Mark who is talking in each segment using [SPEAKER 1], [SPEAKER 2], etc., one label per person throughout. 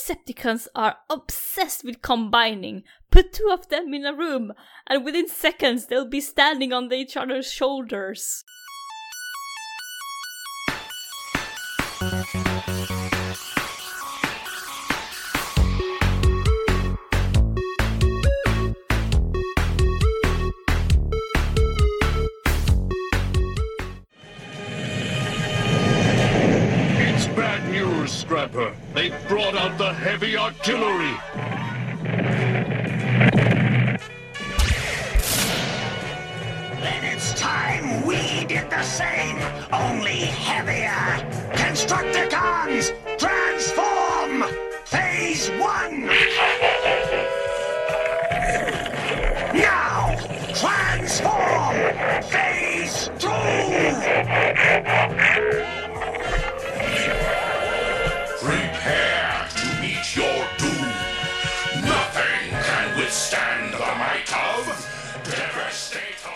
[SPEAKER 1] Decepticons are obsessed with combining. Put two of them in a room, and within seconds they'll be standing on each other's shoulders.
[SPEAKER 2] It's bad news, Scrapper. They've brought out the heavy artillery.
[SPEAKER 3] Then it's time we did the same, only heavier. Constructicons, transform! Phase one! Now, transform! Phase two!
[SPEAKER 2] Prepare to meet your doom. Nothing can withstand the might of Devastator.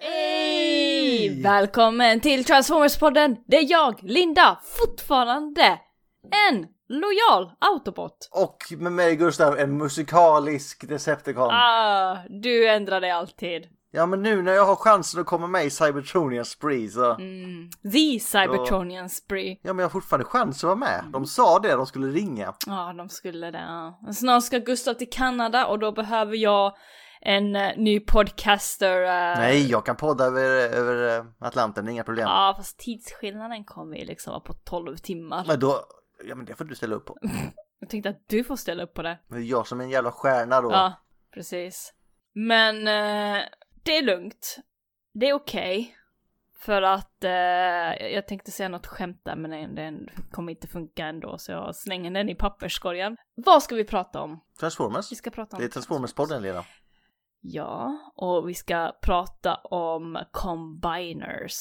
[SPEAKER 1] Hej! Välkommen till Transformers-podden! Det är jag, Linda, fortfarande en lojal autobot.
[SPEAKER 4] Och med mig Gustav, en musikalisk Decepticon.
[SPEAKER 1] Ah, du ändrar dig alltid.
[SPEAKER 4] Ja men nu när jag har chansen att komma med i Cybertronian Spree så...
[SPEAKER 1] Mm. The Cybertronian Spree.
[SPEAKER 4] Ja men jag har fortfarande chans att vara med. De sa det, de skulle ringa.
[SPEAKER 1] Ja, de skulle det. ja. Snart ska Gustav till Kanada och då behöver jag en eh, ny podcaster. eh,
[SPEAKER 4] Nej, jag kan podda över, över eh, Atlanten, inga problem.
[SPEAKER 1] Ja, fast tidsskillnaden kommer ju liksom vara på 12 timmar.
[SPEAKER 4] Men då... Ja men det får du ställa upp på.
[SPEAKER 1] Jag tänkte att du får ställa upp på det.
[SPEAKER 4] Men jag som är en jävla stjärna då.
[SPEAKER 1] Ja, precis. Men eh, det är lugnt. Det är okej. För att eh, jag tänkte säga något skämt där men den- den kommer inte funka ändå så jag slänger den i papperskorgen. Vad ska vi prata om?
[SPEAKER 4] Transformers.
[SPEAKER 1] Vi ska prata om...
[SPEAKER 4] Det är Transformers-podden Lena.
[SPEAKER 1] Ja, och vi ska prata om combiners.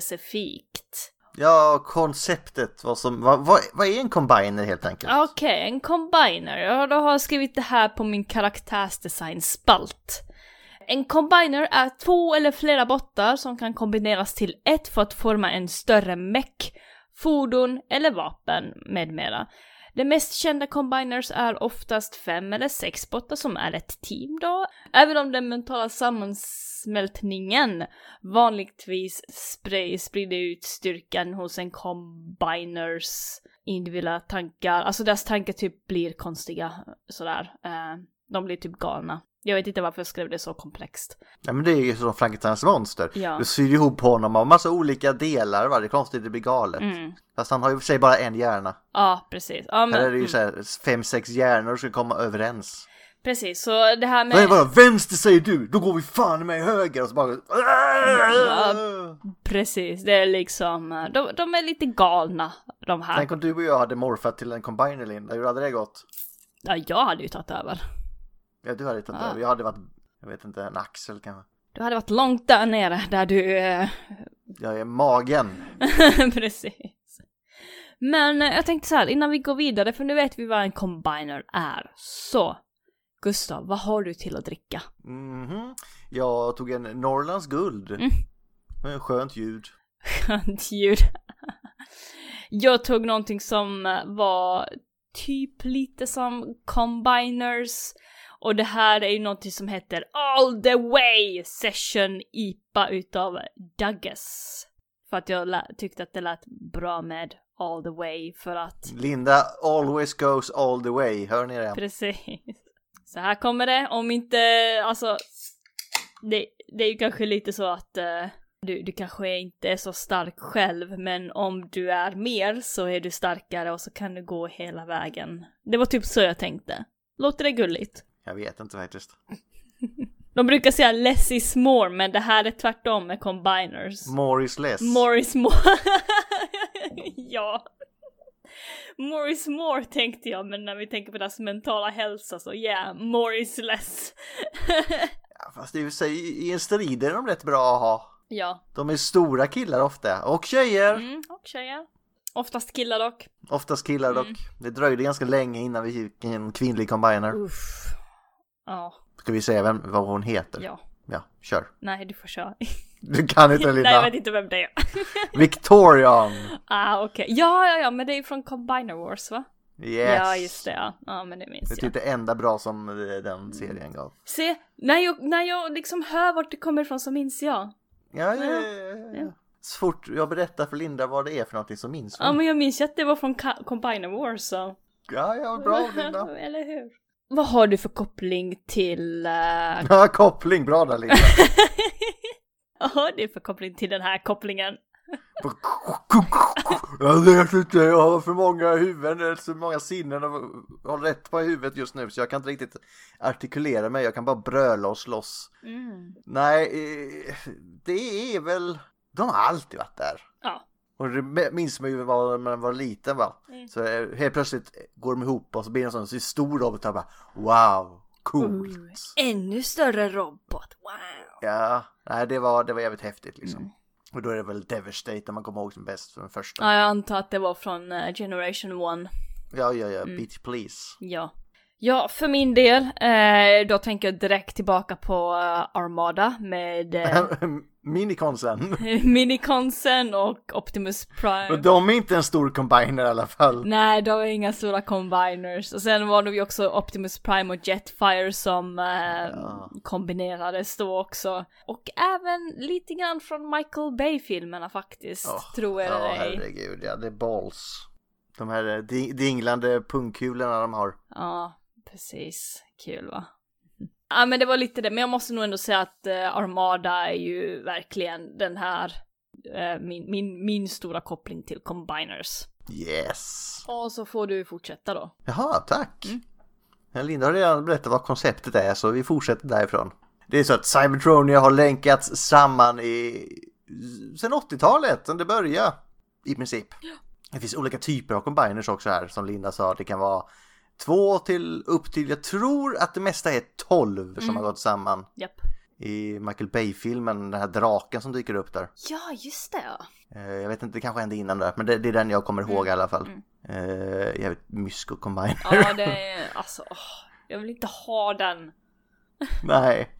[SPEAKER 1] Specifikt.
[SPEAKER 4] Ja, konceptet, vad som... Vad, vad, vad är en combiner helt enkelt?
[SPEAKER 1] Okej, en combiner. Ja, då har jag skrivit det här på min karaktärsdesign-spalt. En combiner är två eller flera bottar som kan kombineras till ett för att forma en större mech, fordon eller vapen med mera. De mest kända combiners är oftast fem eller sex bottar som är ett team då, även om den mentala sammansmältningen vanligtvis spray, sprider ut styrkan hos en combiners individuella tankar. Alltså deras tankar typ blir konstiga sådär. Eh, De blir typ galna. Jag vet inte varför jag skrev det så komplext.
[SPEAKER 4] Ja men det är ju som Frankensteins monster.
[SPEAKER 1] Ja.
[SPEAKER 4] Du syr ihop honom av massa olika delar, va? det är konstigt det blir galet.
[SPEAKER 1] Mm.
[SPEAKER 4] Fast han har ju för sig bara en hjärna.
[SPEAKER 1] Ja, precis. Ja, men,
[SPEAKER 4] Här är det ju
[SPEAKER 1] mm,
[SPEAKER 4] så här, fem, sex hjärnor ska komma överens.
[SPEAKER 1] precis, så det här
[SPEAKER 4] Nej
[SPEAKER 1] med
[SPEAKER 4] vadå, vänster säger du, då går vi fan med höger och så bara...
[SPEAKER 1] precis, det är liksom, eh, de, de är lite galna de här.
[SPEAKER 4] Tänk om du och jag hade morfat till en combiner Linda, hur hade det gått?
[SPEAKER 1] Ja, jag hade ju tagit över.
[SPEAKER 4] Ja du hade tagit
[SPEAKER 1] Ah.
[SPEAKER 4] över, jag hade varit, jag vet inte, en axel kanske.
[SPEAKER 1] Du hade varit långt där nere där du eh,
[SPEAKER 4] Jag är magen.
[SPEAKER 1] Precis. Men eh, jag tänkte så här innan vi går vidare, för nu vet vi vad en combiner är. Så, Gustav, vad har du till att dricka?
[SPEAKER 4] Mhm. Jag tog en Norrlands guld. Mm. Skönt ljud.
[SPEAKER 1] Skönt ljud. Jag tog någonting som eh, var typ lite som combiners. Och det här är ju någonting som heter All the way session IPA utav Dugges. För att jag lä- tyckte att det lät bra med All the way för att
[SPEAKER 4] Linda always goes all the way, hör ni det?
[SPEAKER 1] Precis. Så här kommer det, om inte, alltså. Det, det är ju kanske lite så att eh, du, du kanske inte är så stark själv, men om du är mer så är du starkare och så kan du gå hela vägen. Det var typ så jag tänkte. Låter det gulligt?
[SPEAKER 4] Jag vet inte faktiskt.
[SPEAKER 1] De brukar säga less is more, men det här är tvärtom med combiners.
[SPEAKER 4] More is less.
[SPEAKER 1] Morris Moore. ja. Morris Moore tänkte jag, men när vi tänker på deras mentala hälsa så yeah, Morris less.
[SPEAKER 4] Ja, Fast i och för sig, i- i en strid är de rätt bra att ha.
[SPEAKER 1] ja.
[SPEAKER 4] De är stora killar ofta, och tjejer.
[SPEAKER 1] Mm, och tjejer. Oftast killar dock.
[SPEAKER 4] Oftast killar dock.
[SPEAKER 1] Mm.
[SPEAKER 4] Det dröjde ganska länge innan vi fick en kvinnlig
[SPEAKER 1] Mm.
[SPEAKER 4] combiner.
[SPEAKER 1] Uff. Ja,
[SPEAKER 4] Ska vi säga vem, vad hon heter?
[SPEAKER 1] ja.
[SPEAKER 4] Ja, kör.
[SPEAKER 1] Nej, du får köra.
[SPEAKER 4] Du kan inte
[SPEAKER 1] Nej, jag
[SPEAKER 4] Linda.
[SPEAKER 1] vet inte vem det är.
[SPEAKER 4] Victorian!
[SPEAKER 1] ah, okej. Ja, ja, ja, men det är från Combiner Wars, va?
[SPEAKER 4] Yes!
[SPEAKER 1] Ja, just det. Mm. Ja, ja men det minns
[SPEAKER 4] Det är
[SPEAKER 1] jag.
[SPEAKER 4] typ det enda bra som eh, den serien gav.
[SPEAKER 1] Se, när jag, när jag liksom hör vart det kommer ifrån så minns jag.
[SPEAKER 4] Ja, ja, ja, ja, ja. Så fort jag berättar för Linda vad det är för någonting så minns
[SPEAKER 1] Ja,
[SPEAKER 4] hon.
[SPEAKER 1] men jag minns ju att det var från Ka- Combiner Wars så.
[SPEAKER 4] Ja, ja, bra Linda.
[SPEAKER 1] Eller hur? Vad har du för koppling till... eh,
[SPEAKER 4] Ja, koppling, bra där Linda.
[SPEAKER 1] Vad har du för koppling till den här kopplingen?
[SPEAKER 4] Jag vet inte, jag har för många huvuden, eller så många sinnen och har rätt på huvudet just nu så jag kan inte riktigt artikulera mig, jag kan bara bröla och slåss.
[SPEAKER 1] Mm.
[SPEAKER 4] Nej, eh, det är väl, de har alltid varit där.
[SPEAKER 1] Ja.
[SPEAKER 4] Och det minns man ju var- när man var liten va. Så eh, helt plötsligt går de ihop och så blir det en sån så stor robot och bara wow, coolt.
[SPEAKER 1] Ännu större robot, wow!
[SPEAKER 4] Ja, nej det var, det var jävligt häftigt liksom. Och då är det väl Devastate man kommer ihåg som bäst från den första.
[SPEAKER 1] Ja, jag antar att det var från eh, Generation 1.
[SPEAKER 4] Ja, ja, ja,
[SPEAKER 1] Mm.
[SPEAKER 4] Beat Please.
[SPEAKER 1] Ja. Ja, för min del, eh, då tänker jag direkt tillbaka på eh, Armada med eh,
[SPEAKER 4] Minikonsen.
[SPEAKER 1] Miniconsen och Optimus
[SPEAKER 4] Och
[SPEAKER 1] Prime.
[SPEAKER 4] de är inte en stor combiner i alla fall.
[SPEAKER 1] Nej, de är inga stora combiners. Och sen var det ju också Optimus Prime och Jetfire som eh, kombinerades då också. Och även lite grann från Michael Bay-filmerna faktiskt,
[SPEAKER 4] Åh,
[SPEAKER 1] tror jag
[SPEAKER 4] Ja,
[SPEAKER 1] eller ej.
[SPEAKER 4] herregud, ja, det är balls. De här eh, di- dinglande pungkulorna de har.
[SPEAKER 1] Ja, precis. Kul va? Ja, men det var lite det. Men jag måste nog ändå säga att eh, Armada är ju verkligen den här, eh, min, min, min stora koppling till combiners.
[SPEAKER 4] Yes!
[SPEAKER 1] Och så får du fortsätta då.
[SPEAKER 4] Jaha, tack! Linda har redan berättat vad konceptet är så vi fortsätter därifrån. Det är så att Cybertronia har länkats samman i... sen 80-talet, sen det började. I princip. Det finns olika typer av combiners också här som Linda sa. Det kan vara två till upp till, jag tror att det mesta är 12 som har gått samman.
[SPEAKER 1] Japp.
[SPEAKER 4] I Michael Bay-filmen, den här draken som dyker upp där.
[SPEAKER 1] Ja, just det ja.
[SPEAKER 4] Eh, Jag vet inte, det kanske hände innan där, men det, det är den jag kommer ihåg i alla fall. Eh, jävligt mysko combiner.
[SPEAKER 1] Ja, det är alltså, åh, jag vill inte ha den.
[SPEAKER 4] Nej.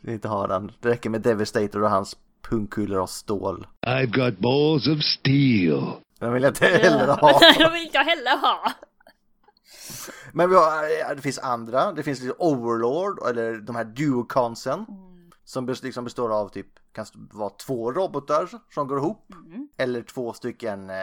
[SPEAKER 4] Vill inte ha den. Det räcker med Devastator och hans pungkulor av stål.
[SPEAKER 5] I've got balls of steel.
[SPEAKER 4] Den vill jag inte heller ha.
[SPEAKER 1] den vill inte jag heller ha.
[SPEAKER 4] Men vi har, ja, det finns andra. Det finns liksom Overlord eller de här Duoconsen. Som bes- liksom består av typ, kan st- vara två robotar som går ihop. Eller två stycken eh,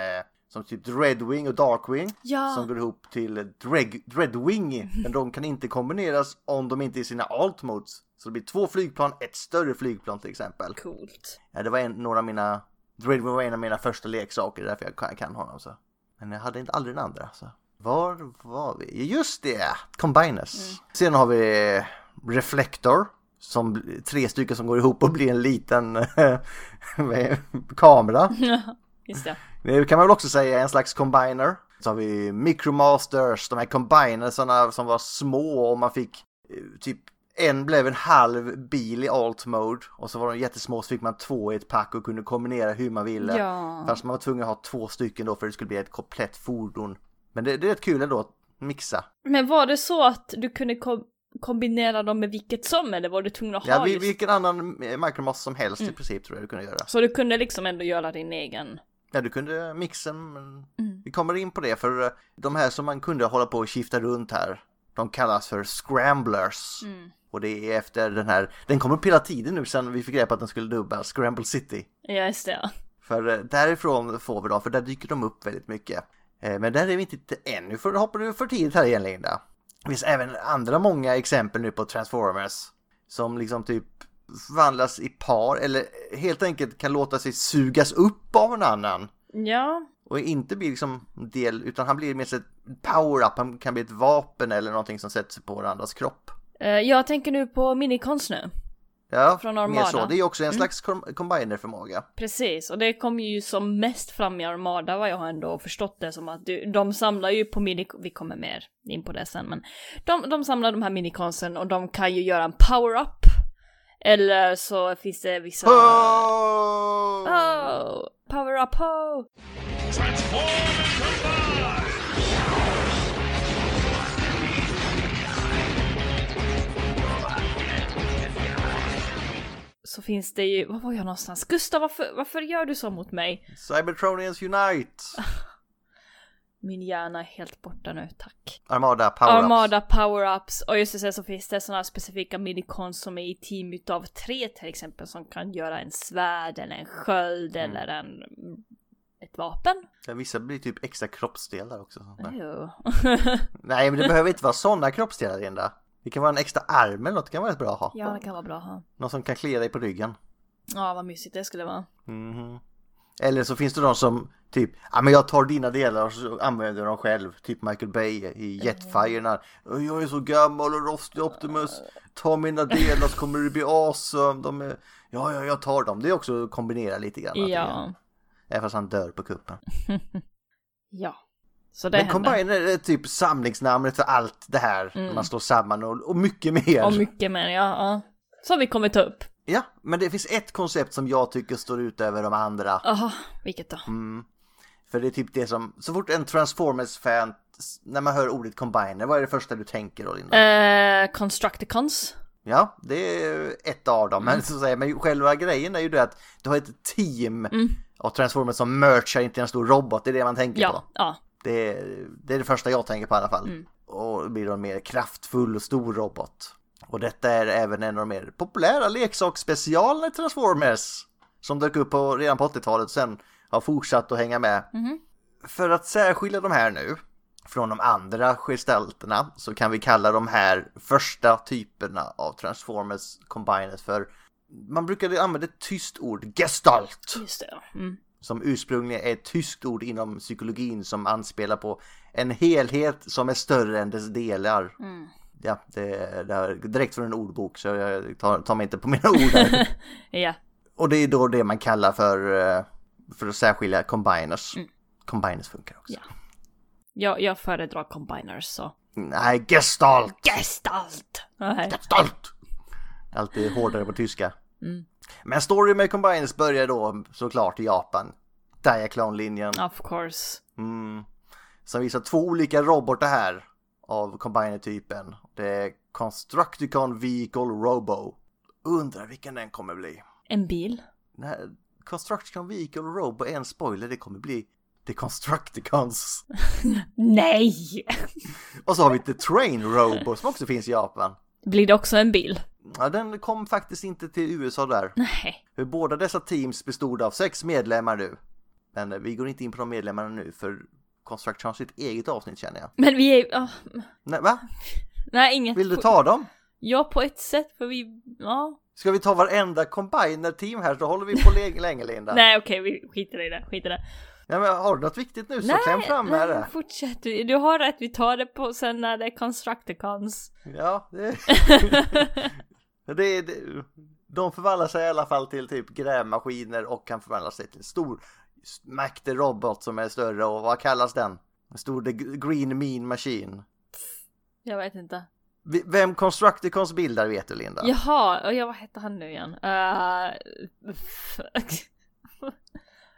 [SPEAKER 4] som typ Dreadwing och Darkwing.
[SPEAKER 1] Ja.
[SPEAKER 4] Som går ihop till Dreg- Dreadwing. Men de kan inte kombineras om de inte är i sina alt modes. Så det blir två flygplan, ett större flygplan till exempel.
[SPEAKER 1] Coolt.
[SPEAKER 4] Ja, det var en, några av mina... Dreadwing var en av mina första leksaker, därför jag kan, kan honom så. Men jag hade inte aldrig den andra. Så. Var var vi? Just det! Combiners. Sen har vi Reflector. Som bl- tre stycken som går ihop och blir en liten med kamera.
[SPEAKER 1] Just det.
[SPEAKER 4] Det kan man väl också säga är en slags combiner. Så har vi Micromasters, de här combinersarna som var små och man fick eh, typ en blev en halv bil i alt mode och så var de jättesmå så fick man två i ett pack och kunde kombinera hur man ville.
[SPEAKER 1] Ja.
[SPEAKER 4] Fast man var tvungen att ha två stycken då för det skulle bli ett komplett fordon. Men det, det är rätt kul ändå att mixa.
[SPEAKER 1] Men var det så att du kunde kom- kombinera dem med vilket som eller var du tvungen att ha
[SPEAKER 4] Ja, vi,
[SPEAKER 1] just... Mm.
[SPEAKER 4] vilken annan eh, Micromaster som helst i princip tror jag du kunde göra.
[SPEAKER 1] Så du kunde liksom ändå göra din egen?
[SPEAKER 4] Ja, du kunde mixa, men vi kommer in på det för eh, de här som man kunde hålla på och skifta runt här, de kallas för scramblers. Och det är efter den här, den kommer upp hela tiden nu sen vi fick reda på att den skulle dubba, Scramble City.
[SPEAKER 1] Ja, just det. ja.
[SPEAKER 4] För eh, därifrån får vi dem, för där dyker de upp väldigt mycket. Eh, Men där är vi inte ännu, för då hoppar du för tidigt här igen Linda. Det finns även andra många exempel nu på Transformers. Som liksom typ förvandlas i par, eller helt enkelt kan låta sig sugas upp av en annan
[SPEAKER 1] Ja.
[SPEAKER 4] och inte blir liksom en del, utan han blir mer så ett power-up, han kan bli ett vapen eller någonting som sätter sig på varandras kropp.
[SPEAKER 1] Eh, Jag tänker nu på minikons nu.
[SPEAKER 4] Ja,
[SPEAKER 1] Från Mm.
[SPEAKER 4] mer så.
[SPEAKER 1] Armada.
[SPEAKER 4] Det är ju också en slags kom- combiner-förmåga.
[SPEAKER 1] Precis, och det kom ju som mest fram i Armada vad jag har ändå förstått det som att du, de samlar ju på mini... Vi kommer mer in på det sen men de, de samlar de här minikonsen och de kan ju göra en power-up. Eller så finns det vissa...
[SPEAKER 4] Oh!
[SPEAKER 1] Oh! Power-up, ho!
[SPEAKER 2] Transform and combine!
[SPEAKER 1] Så finns det ju... Var var jag någonstans? Gustav, varför, varför gör du så mot mig?
[SPEAKER 4] Cybertronians Unite!
[SPEAKER 1] Min hjärna är helt borta nu, tack.
[SPEAKER 4] Armada power-ups.
[SPEAKER 1] Armada power-ups. Och just det, så finns det sådana specifika minikons som är i team utav tre till exempel som kan göra en svärd eller en sköld eller en, ett vapen.
[SPEAKER 4] Ja, Vissa blir typ extra kroppsdelar också. Sånt där.
[SPEAKER 1] Jo.
[SPEAKER 4] Nej, men det behöver inte vara sådana kroppsdelar Linda. Det kan vara en extra arm eller något, det kan vara rätt bra att ha.
[SPEAKER 1] ja, det kan vara bra att ha.
[SPEAKER 4] Någon som kan klia dig på ryggen.
[SPEAKER 1] Ja, vad mysigt det skulle vara.
[SPEAKER 4] Mhm. Eller så finns det de som typ, ja men jag tar dina delar och så använder jag dem själv. Typ Michael Bay i Jetfire när "Åh, jag är så gammal och rostig Optimus. Ta mina delar så kommer det bli awesome. De är, ja, ja, jag tar dem. Det är också att kombinera lite grann.
[SPEAKER 1] Ja.
[SPEAKER 4] Även fast han dör på kuppen.
[SPEAKER 1] Ja. Så det
[SPEAKER 4] Men
[SPEAKER 1] händer. Mm.
[SPEAKER 4] Combiner är typ samlingsnamnet för allt det här. när Man slår samman och, och mycket mer.
[SPEAKER 1] Och mycket mer, ja. ja. Som vi kommer ta upp.
[SPEAKER 4] Ja, men det finns ett koncept som jag tycker står ut över de andra.
[SPEAKER 1] Jaha, vilket då?
[SPEAKER 4] Mm. För det är typ det som, så fort en Transformers-fan, s- när man hör ordet combiner, vad är det första du tänker då Linda?
[SPEAKER 1] Eh, Constructicons.
[SPEAKER 4] Ja, det är ett av dem.
[SPEAKER 1] Mm.
[SPEAKER 4] Men, så att säga, men själva grejen är ju det att du har ett team
[SPEAKER 1] Mm.
[SPEAKER 4] av Transformers som merchar inte en stor robot, det är det man tänker på.
[SPEAKER 1] Ja, ja.
[SPEAKER 4] Det är, det är det första jag tänker på i alla fall. Och det blir då en mer kraftfull och stor robot. Och detta är även en av de mer populära leksaksspecialerna i Transformers. Som dök upp på, redan på 80-talet och sen har fortsatt att hänga med. För att särskilja de här nu från de andra gestalterna så kan vi kalla de här första typerna av Transformers Combiners för man brukade använda ett tyst ord, gestalt
[SPEAKER 1] Just det. ja. Mm.
[SPEAKER 4] som ursprungligen är ett tyskt ord inom psykologin som anspelar på en helhet som är större än dess delar. Ja, det, det här är direkt från en ordbok så jag tar, tar mig inte på mina ord här.
[SPEAKER 1] Ja.
[SPEAKER 4] Och det är då det man kallar för, eh, för att särskilja combiners. Combiners funkar också.
[SPEAKER 1] Ja. Jag, jag föredrar combiners så.
[SPEAKER 4] Nej, gestalt!
[SPEAKER 1] Gestalt! Nej.
[SPEAKER 4] Stolt! Alltid hårdare på tyska. Men story med combiners börjar då såklart i Japan. Diaclone-linjen.
[SPEAKER 1] Of course.
[SPEAKER 4] Mm. Som visar två olika robotar här av Combiner-typen. Det är Constructicon Vehicle Robo. Undrar vilken den kommer bli.
[SPEAKER 1] En bil.
[SPEAKER 4] Den här Constructicon Vehicle Robo är en spoiler, det kommer bli The Constructicons.
[SPEAKER 1] Nej!
[SPEAKER 4] Och så har vi The Train Robo som också finns i Japan.
[SPEAKER 1] Blir det också en bil?
[SPEAKER 4] Ja, den kom faktiskt inte till USA där.
[SPEAKER 1] Nej.
[SPEAKER 4] För båda dessa teams bestod av sex medlemmar nu. Men eh, vi går inte in på de medlemmarna nu för Constructicon har sitt eget avsnitt känner jag.
[SPEAKER 1] Men vi är... ah,
[SPEAKER 4] Nej, va?
[SPEAKER 1] nej, inget.
[SPEAKER 4] Vill du ta dem?
[SPEAKER 1] Ja, på ett sätt för vi... Ja.
[SPEAKER 4] Ska vi ta varenda combiner-team här så håller vi på le- länge Linda.
[SPEAKER 1] Nej okej, vi skiter i det. Skiter i det.
[SPEAKER 4] Nej, men har du något viktigt nu så kläm fram
[SPEAKER 1] nej,
[SPEAKER 4] med det.
[SPEAKER 1] fortsätt. Du, du har rätt, vi tar det på sen när det är Constructicons.
[SPEAKER 4] Ja, det... det, är- det... De förvandlar sig i alla fall till typ grävmaskiner och kan förvandla sig till en stor mäktig robot som är större och vad kallas den? En stor the green mean machine.
[SPEAKER 1] Jag vet inte.
[SPEAKER 4] Vi- Vem Constructicons bildar vet du Linda?
[SPEAKER 1] Jaha, och jag, vad hette han nu igen? Eh, f-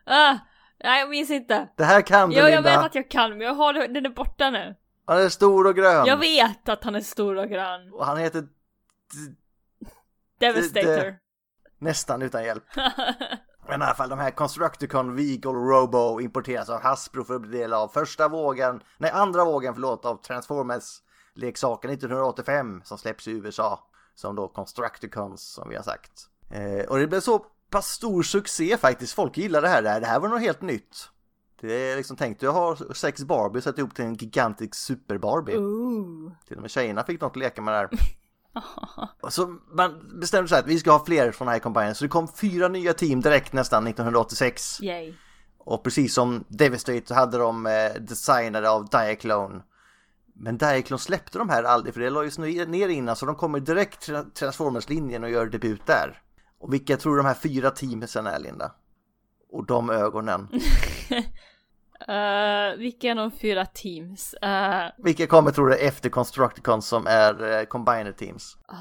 [SPEAKER 1] Ah, nej, jag minns inte.
[SPEAKER 4] Det här kan du
[SPEAKER 1] Jo, jag vet
[SPEAKER 4] Linda.
[SPEAKER 1] att jag kan, men jag har det- den är borta nu.
[SPEAKER 4] Han är stor och grön.
[SPEAKER 1] Jag vet att han är stor och grön.
[SPEAKER 4] Och han heter
[SPEAKER 1] Devastator.
[SPEAKER 4] nästan utan hjälp. Men i alla fall de här Constructicon Vehicle Robo importeras av Hasbro för att bli del av första vågen, nej andra vågen förlåt, av Transformers leksaken 1985 som släpps i USA som då Constructicons som vi har sagt. Eh, och det blev så pass stor succé faktiskt, folk gillade det här, det här, det här var något helt nytt. Det är liksom tänkt, jag har sex Barbie och satt ihop till en gigantisk Super Barbie.
[SPEAKER 1] Ooh.
[SPEAKER 4] Till och med tjejerna fick något att leka med där. Och så man bestämde sig att vi ska ha fler sådana här kampanjer. Så det kom fyra nya team direkt nästan 1986.
[SPEAKER 1] Yay.
[SPEAKER 4] Och precis som Devastator så hade de eh, designade av Diaclone. Men Diaclone släppte de här aldrig för det lades ju ner innan så de kommer direkt till Transformers-linjen och gör debut där. Och vilka tror du de här fyra teamsen är Linda? Och de ögonen.
[SPEAKER 1] Eh, vilka är de fyra teams? Eh,
[SPEAKER 4] Vilka kommer tror du efter Constructicon som är eh, Combiner Teams?
[SPEAKER 1] Ah.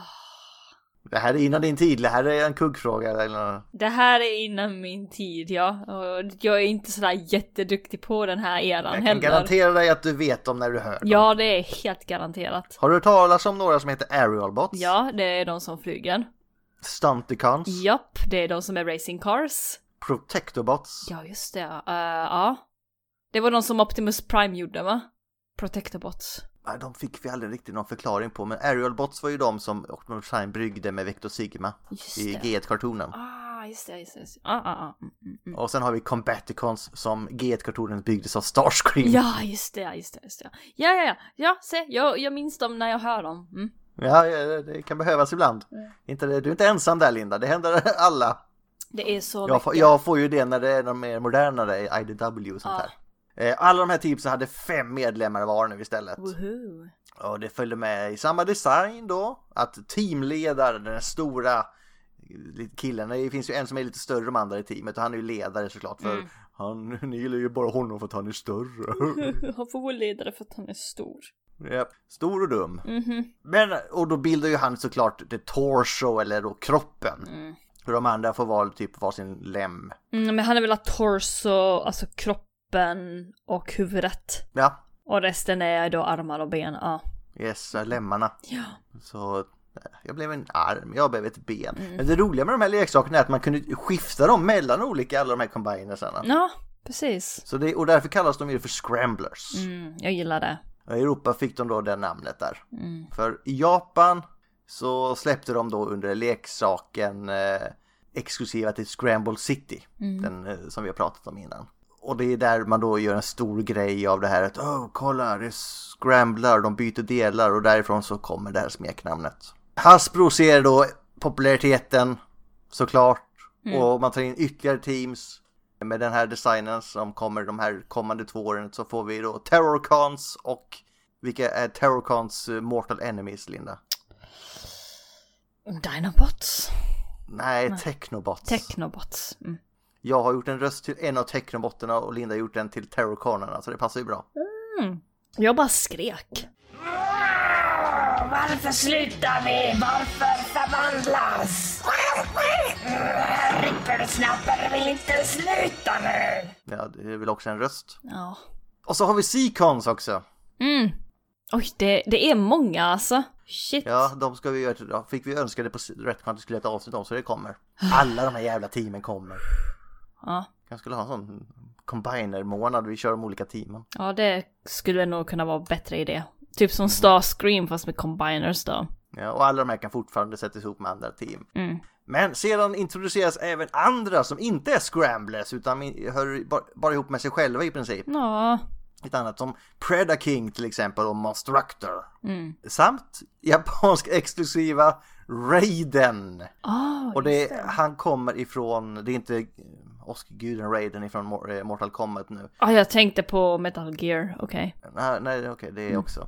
[SPEAKER 4] Det här är innan din tid, det här är en kuggfråga. Eller...
[SPEAKER 1] det här är innan min tid, ja. Och jag är inte sådär jätteduktig på den här eran
[SPEAKER 4] Jag kan
[SPEAKER 1] heller.
[SPEAKER 4] garantera dig att du vet dem när du hör dem.
[SPEAKER 1] Ja, det är helt garanterat.
[SPEAKER 4] Har du hört talas om några som heter Aerial Bots?
[SPEAKER 1] Ja, det är de som flyger.
[SPEAKER 4] Stunticons?
[SPEAKER 1] Japp, det är de som är racing cars.
[SPEAKER 4] Protectobots?
[SPEAKER 1] Ja, just det. ja. Eh, ja. Det var de som Optimus Prime gjorde va? Protectobots.
[SPEAKER 4] Nej, de fick vi aldrig riktigt någon förklaring på, men Aerial Bots var ju de som Optimus Prime bryggde med Vector Sigma
[SPEAKER 1] Just
[SPEAKER 4] i
[SPEAKER 1] det.
[SPEAKER 4] G1-kartonen.
[SPEAKER 1] Ah, just det, just det. Just det. Ah, ah, ah. Mm, mm, mm.
[SPEAKER 4] Och sen har vi Combaticons som G1-kartonen byggdes av Starscream.
[SPEAKER 1] Ja, just det, just det, just det. Ja, ja, ja, ja se, jag, jag minns dem när jag hör dem. Mm.
[SPEAKER 4] Ja, ja, det kan behövas ibland. Inte, du är inte ensam där Linda, det händer alla.
[SPEAKER 1] Det är så
[SPEAKER 4] Jag
[SPEAKER 1] mycket.
[SPEAKER 4] får, jag får ju det när det är de mer modernare IDW och sånt
[SPEAKER 1] Ja.
[SPEAKER 4] här. Eh, Alla de här tipsen hade fem medlemmar var nu istället.
[SPEAKER 1] Woohoo.
[SPEAKER 4] Och det följde med i samma design då, att teamledaren, den stora eh, killen, det finns ju en som är lite större än de andra i teamet och han är ju ledare såklart för han, ni gillar ju bara honom för att han är större.
[SPEAKER 1] Han får vara ledare för att han är stor.
[SPEAKER 4] Japp, Stor och dum.
[SPEAKER 1] Mhm.
[SPEAKER 4] Men, och då bildar ju han såklart det torso eller då kroppen. Och de andra får vara typ varsin lem.
[SPEAKER 1] Mm, men han är väl att torso, alltså kroppen och huvudet.
[SPEAKER 4] Ja,
[SPEAKER 1] Och resten är då armar och ben, ja.
[SPEAKER 4] yes, lemmarna. Så eh, jag blev en arm, jag blev ett ben. Men det roliga med de här leksakerna är att man kunde skifta dem mellan olika, alla de här combinersarna.
[SPEAKER 1] Ja, precis.
[SPEAKER 4] Så det, och därför kallas de ju för scramblers.
[SPEAKER 1] Mm, jag gillar det. Mm.
[SPEAKER 4] Och I Europa fick de då det namnet där. För i Japan så släppte de då under leksaken eh, exklusiva till Scramble City, den eh, som vi har pratat om innan. Och det är där man då gör en stor grej av det här att åh, kolla, det scramblar, de byter delar och därifrån så kommer det här smeknamnet. Hasbro ser då populariteten såklart och man tar in ytterligare teams med den här designen som kommer de här kommande två åren så får vi då Terrorcons och vilka är Terrorcons eh, Mortal Enemies, Linda?
[SPEAKER 1] Dinobots.
[SPEAKER 4] Nej, Technobots.
[SPEAKER 1] Technobots. Mm.
[SPEAKER 4] Jag har gjort en röst till en av Technobotterna och Linda har gjort en till Terrorconerna, så det passar ju bra.
[SPEAKER 1] Jag bara skrek.
[SPEAKER 3] Varför slutar vi? Varför förvandlas? Rippelsnapper vill inte sluta nu!
[SPEAKER 4] Ja, det är väl också en röst.
[SPEAKER 1] Ja.
[SPEAKER 4] Och så har vi Seacons också.
[SPEAKER 1] Mm. Oj, det, det är många alltså. Shit.
[SPEAKER 4] Ja, de ska vi göra till, ja, fick vi önskade på Retcon att vi skulle göra ett avsnitt om, så det kommer. Alla de här jävla teamen kommer.
[SPEAKER 1] Ja.
[SPEAKER 4] Jag skulle ha en sån combiner-månad, vi kör de olika teamen.
[SPEAKER 1] Ja, det skulle nog kunna vara en bättre idé. Typ som Starscream fast med combiners då.
[SPEAKER 4] Ja, och alla de här kan fortfarande sättas ihop med andra team.
[SPEAKER 1] Mm.
[SPEAKER 4] Men sedan introduceras även andra som inte är scramblers utan min- hör bara, bara ihop med sig själva i princip.
[SPEAKER 1] Ja.
[SPEAKER 4] Ett annat som Predaking till exempel och Monstructor. Samt japansk exklusiva Raiden.
[SPEAKER 1] Ah,
[SPEAKER 4] Och det, han kommer ifrån, det är inte eh, Oscar-guden Raiden ifrån Mor- eh, Mortal Kombat nu.
[SPEAKER 1] ah, jag tänkte på Metal Gear, okej.
[SPEAKER 4] Nej, nej okej, det är också.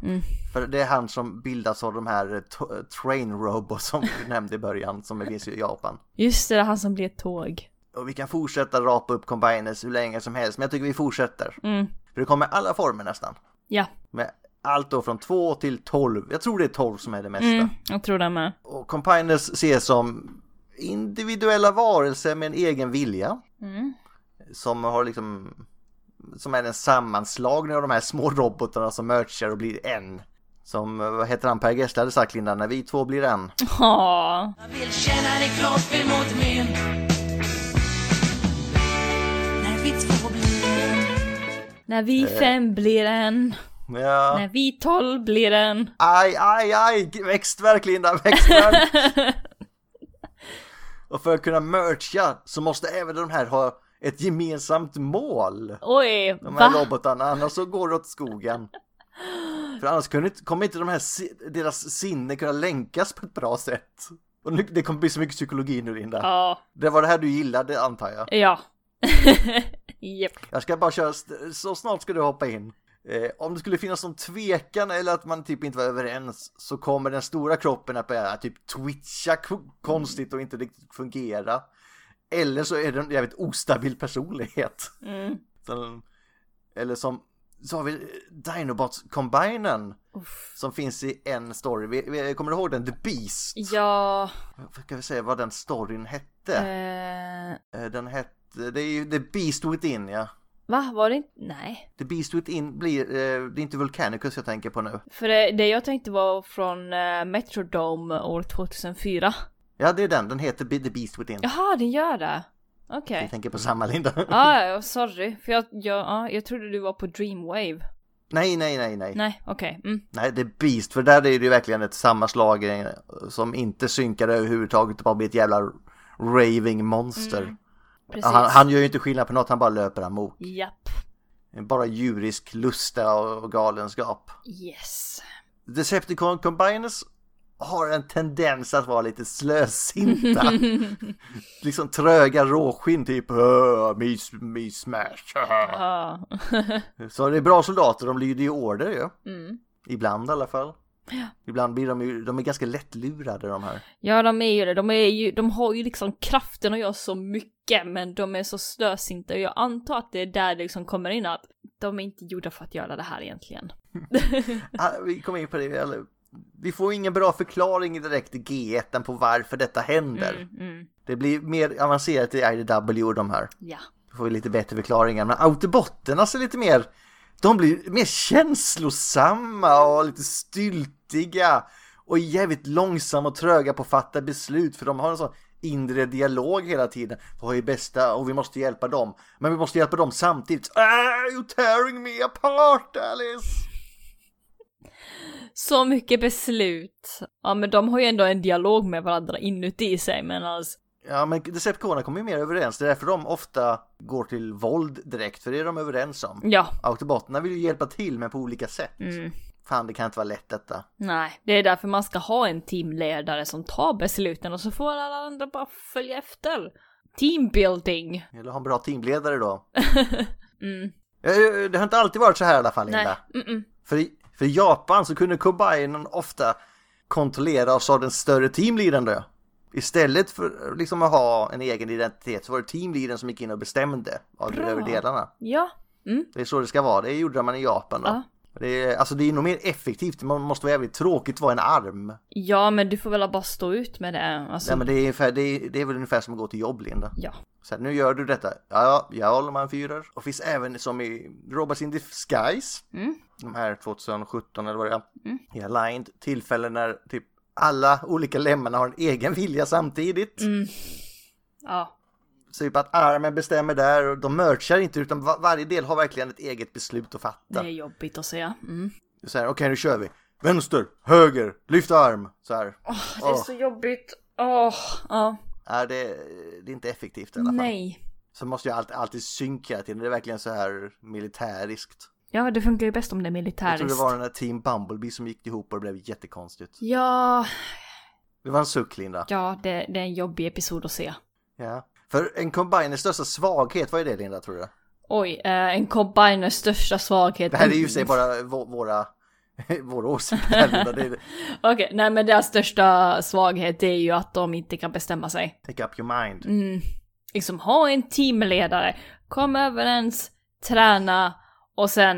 [SPEAKER 4] För det är han som bildas av de här eh, to- eh, Train Robots som vi nämnde i början, som finns i Japan.
[SPEAKER 1] Just det, det är han som blir ett tåg.
[SPEAKER 4] Och vi kan fortsätta rapa upp combiners hur länge som helst, men jag tycker vi fortsätter. För det kommer alla former nästan.
[SPEAKER 1] Ja,
[SPEAKER 4] Med allt då från 2 till 12. Jag tror det är 12 som är det mesta.
[SPEAKER 1] mm, jag tror det med.
[SPEAKER 4] Och combiners ses som individuella varelser med en egen vilja. Som har liksom som är en sammanslagning av de här små robotarna som merchar och blir en. Som, eh, vad heter han, Per Gessle hade sagt Linda, när vi två blir en.
[SPEAKER 1] Ja,
[SPEAKER 6] vill känna dig kropp emot min När vi två blir en
[SPEAKER 1] när vi fem blir en,
[SPEAKER 4] Eh. Ja.
[SPEAKER 1] när vi tolv blir en.
[SPEAKER 4] Aj, aj, aj! Växtvärk, Linda! Växtvärk! och för att kunna mercha så måste även de här ha ett gemensamt mål.
[SPEAKER 1] Oj,
[SPEAKER 4] De här
[SPEAKER 1] va?
[SPEAKER 4] robotarna, annars så går det åt skogen. För annars kunde, inte- kommer inte de här, si- deras sinne kunna länkas på ett bra sätt. Och nu, det kommer bli så mycket psykologi nu Linda.
[SPEAKER 1] Ja,
[SPEAKER 4] Det var det här du gillade antar jag.
[SPEAKER 1] ja. Japp.
[SPEAKER 4] Jag ska bara köra, st- så snart ska du hoppa in. Eh, om det skulle finnas någon tvekan eller att man typ inte var överens så kommer den stora kroppen att börja typ twitcha ko- konstigt och inte riktigt fungera. Eller så är det en jävligt ostabil personlighet. Så, eller som, så har vi Dinobots Combinen. Som finns i en story. Vi, vi, kommer du ihåg den? The Beast?
[SPEAKER 1] Ja,
[SPEAKER 4] Ska vi säga vad den storyn hette?
[SPEAKER 1] eh,
[SPEAKER 4] Eh, Den hette, det är ju The Beast Within ja.
[SPEAKER 1] va? Var det inte? Nej.
[SPEAKER 4] The Beast Within blir, eh, det är inte Vulcanicus jag tänker på nu.
[SPEAKER 1] För det, det jag tänkte var från eh, Metrodome år 2004.
[SPEAKER 4] Ja, det är den. Den heter Be- The Beast Within.
[SPEAKER 1] Jaha, den gör det? Okej.
[SPEAKER 4] Vi tänker på samma Linda.
[SPEAKER 1] Ah, ja, sorry. För jag, jag, ja, jag trodde du var på Dreamwave.
[SPEAKER 4] nej, nej, nej, nej.
[SPEAKER 1] Nej, okej. Mm.
[SPEAKER 4] Nej, det är Beast, för där är det ju verkligen ett sammanslag eh, som inte synkar överhuvudtaget, det bara blir ett jävla raving monster.
[SPEAKER 1] Mm, Precis.
[SPEAKER 4] han, han gör ju inte skillnad på något, han bara löper emot.
[SPEAKER 1] Japp.
[SPEAKER 4] Bara djurisk lusta och och galenskap.
[SPEAKER 1] Yes.
[SPEAKER 4] Decepticon Combiners har en tendens att vara lite slösinta. liksom tröga råskinn typ "Åh, me, me smash.
[SPEAKER 1] Ah.
[SPEAKER 4] Så det är bra soldater, de lyder ju order ju.
[SPEAKER 1] Mm.
[SPEAKER 4] Ibland i alla fall. Ibland blir de ju, de är ganska lättlurade de här.
[SPEAKER 1] Ja, de är ju det. De, är ju, de har ju liksom kraften och gör så mycket, men de är så slösinta. Och jag antar att det är där det liksom kommer in att de är inte gjorda för att göra det här egentligen.
[SPEAKER 4] Ah, vi kommer in på det, eller, vi får ingen bra förklaring direkt i G1 på varför detta händer.
[SPEAKER 1] Mm.
[SPEAKER 4] Det blir mer avancerat i IDW och de här.
[SPEAKER 1] Ja.
[SPEAKER 4] Då får vi lite bättre förklaringar. Men autobotterna ser lite mer... De blir mer känslosamma och lite styltiga. Och jävligt långsamma och tröga på att fatta beslut. För de har en sån inre dialog hela tiden. Vad är bästa? Och vi måste hjälpa dem. Men vi måste hjälpa dem samtidigt. Ah, you're tearing me apart Alice!
[SPEAKER 1] Så mycket beslut. Ja, men de har ju ändå en dialog med varandra inuti sig, men alltså.
[SPEAKER 4] Ja men Decepticonerna kommer ju mer överens. Det är därför de ofta går till våld direkt. För det är de överens om.
[SPEAKER 1] Ja.
[SPEAKER 4] Autobotterna vill ju hjälpa till men på olika sätt.
[SPEAKER 1] Mm.
[SPEAKER 4] Fan det kan inte vara lätt detta.
[SPEAKER 1] Nej, det är därför man ska ha en teamledare som tar besluten och så får alla andra bara följa efter. Teambuilding.
[SPEAKER 4] Eller ha en bra teamledare då.
[SPEAKER 1] Mm.
[SPEAKER 4] Eh, Det har inte alltid varit så här i alla fall
[SPEAKER 1] Nej.
[SPEAKER 4] Linda.
[SPEAKER 1] Mm-mm.
[SPEAKER 4] För i, för i Japan så kunde kobayen ofta kontrolleras av den större teamleadern då. Istället för liksom att ha en egen identitet så var det teamleadern som gick in och bestämde av-
[SPEAKER 1] Bra.
[SPEAKER 4] över delarna.
[SPEAKER 1] Ja. Mm.
[SPEAKER 4] Det är så det ska vara, det gjorde man i Japan då.
[SPEAKER 1] Ja.
[SPEAKER 4] Det är, alltså det är nog mer effektivt, man måste vara jävligt tråkigt att vara en arm.
[SPEAKER 1] Ja, men du får väl bara stå ut med det. Alltså,
[SPEAKER 4] Nej, men det, är ungefär, det, är, det är väl ungefär som att gå till jobb Linda.
[SPEAKER 1] Ja.
[SPEAKER 4] Så här, nu gör du detta. Ja, ja, jag håller man fyrer. Och finns även som i Robots in Disguise.
[SPEAKER 1] Mm.
[SPEAKER 4] De här 2017 eller vad det är. I Aligned. Tillfällen när typ alla olika lemmarna har en egen vilja samtidigt.
[SPEAKER 1] Mm. Ja.
[SPEAKER 4] Så typ att armen bestämmer där och de merchar inte utan va- varje del har verkligen ett eget beslut att
[SPEAKER 1] Det
[SPEAKER 4] fatta.
[SPEAKER 1] är jobbigt att säga. Mm.
[SPEAKER 4] Så här, okej nu kör vi. Vänster, höger, lyft arm. Så här.
[SPEAKER 1] Det är så jobbigt. Åh. Ja.
[SPEAKER 4] Ja, det, det är inte effektivt i alla fall.
[SPEAKER 1] Nej.
[SPEAKER 4] Så måste jag alltid, alltid synka till. Det är verkligen så här militäriskt.
[SPEAKER 1] Ja, det funkar ju bäst om det är
[SPEAKER 4] Jag tror
[SPEAKER 1] militäriskt.
[SPEAKER 4] det var den där Team Bumblebee som gick ihop och det blev jättekonstigt.
[SPEAKER 1] Ja,
[SPEAKER 4] Det var en suck Linda.
[SPEAKER 1] ja det, det är en jobbig episod att se.
[SPEAKER 4] Ja. För en combiners största svaghet, vad är det Linda tror du?
[SPEAKER 1] Oj, eh, en combiners största svaghet.
[SPEAKER 4] Det här är ju i och för sig bara vå- våra, våra åsikter Linda. Det är,
[SPEAKER 1] Okej, nej men deras största svaghet det är ju att de inte kan bestämma sig.
[SPEAKER 4] take up your mind.
[SPEAKER 1] Liksom ha en teamledare, kom överens, träna och sen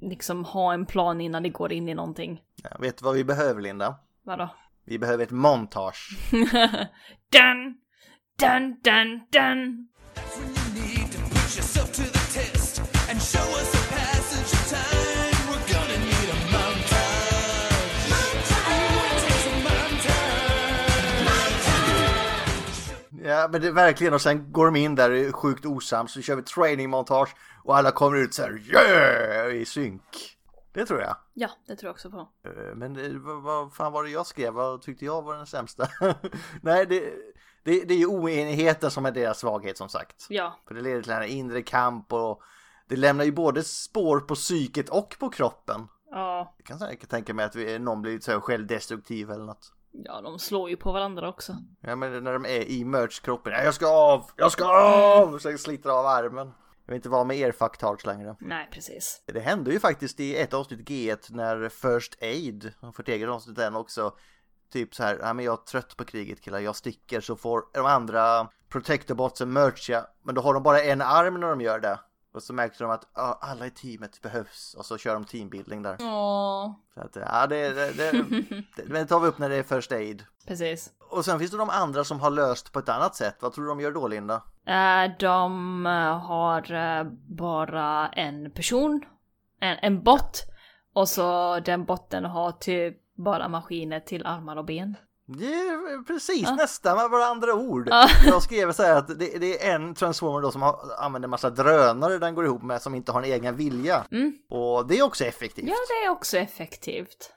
[SPEAKER 1] liksom ha en plan innan det går in i någonting.
[SPEAKER 4] Ja, vet du vad vi behöver Linda?
[SPEAKER 1] Vadå?
[SPEAKER 4] Vi behöver ett montage.
[SPEAKER 1] Dun! Dun, dun, dun!
[SPEAKER 7] when you need to put yourself to the test and show us the passage of time. We're gonna need a mountain.
[SPEAKER 4] Ja men det är verkligen och sen går de in där och är sjukt osams så kör vi training montage och alla kommer ut så här yeah! i synk. Det tror jag.
[SPEAKER 1] Ja, det tror jag också på.
[SPEAKER 4] Eh, Men eh, vad, vad fan var det jag skrev? Vad tyckte jag var den sämsta? Nej, det, det, det är ju oenigheten som är deras svaghet som sagt.
[SPEAKER 1] Ja.
[SPEAKER 4] För det leder till den här inre kamp och det lämnar ju både spår på psyket och på kroppen.
[SPEAKER 1] Ja.
[SPEAKER 4] Jag kan säkert tänka mig att vi, någon blir så här självdestruktiv eller något.
[SPEAKER 1] Ja, de slår ju på varandra också.
[SPEAKER 4] Ja men när de är i merch-kroppen. Ja, jag ska av! Jag ska av! Och Sen sliter av armen. Jag vill inte vara med er fucktards längre.
[SPEAKER 1] Nej, precis.
[SPEAKER 4] Det hände ju faktiskt i ett avsnitt G1 när First Aid, de får ett eget avsnitt den också, typ så här, ja men jag är trött på kriget killar, jag sticker så får de andra Protectorbotsen mercha, men då har de bara en arm när de gör det. Och så märkte de att ja, alla i teamet behövs och så kör de teambuilding där.
[SPEAKER 1] Åh.
[SPEAKER 4] Så att, ja, det, det, det, det, det tar vi upp när det är First Aid.
[SPEAKER 1] Precis.
[SPEAKER 4] Och sen finns det de andra som har löst på ett annat sätt. Vad tror du de gör då Linda?
[SPEAKER 1] Eh, de eh, har eh, bara en person, en, en bot, och så den botten har typ bara maskiner till armar och ben.
[SPEAKER 4] Det är eh, precis nästan med varandra ord. Jag skrev så här att det, det är en transformer då som har, använder massa drönare den går ihop med som inte har en egen vilja. Och det är också effektivt.
[SPEAKER 1] Mm. Ja, det är också effektivt.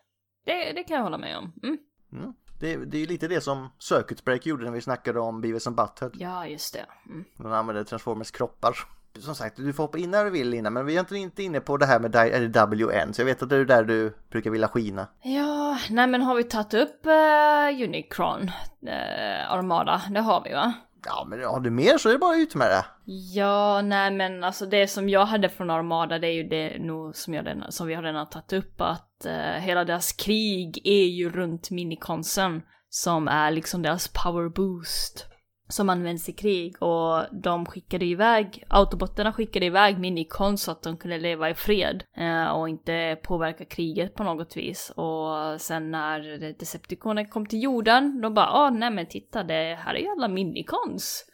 [SPEAKER 1] Det, det kan jag hålla med om. Mm.
[SPEAKER 4] Mm. Det, det är lite det som Circuit Break gjorde när vi snackade om Beavis and Butthead.
[SPEAKER 1] Ja, just det. Mm.
[SPEAKER 4] Den använder Transformers kroppar. Som sagt, du får hoppa in när du vill innan, men vi är inte- inte inne på det här med di- eller WN, så jag vet att det är där du brukar vilja skina.
[SPEAKER 1] Ja, nej men har vi tagit upp eh, Unicron eh, Armada? Det har vi va?
[SPEAKER 4] Ja, men har du mer så är det bara ut med det.
[SPEAKER 1] Ja, nej men alltså det som jag hade från Armada det är ju det nog som, jag redan, som vi har redan tagit upp att eh, hela deras krig är ju runt minikonsen som är liksom deras power boost som används i krig och de skickade iväg, autobotterna skickade iväg minikon så att de kunde leva i fred eh, och inte påverka kriget på något vis. Och sen när Decepticonen kom till jorden, de bara ah nej men titta det här är ju alla minikons.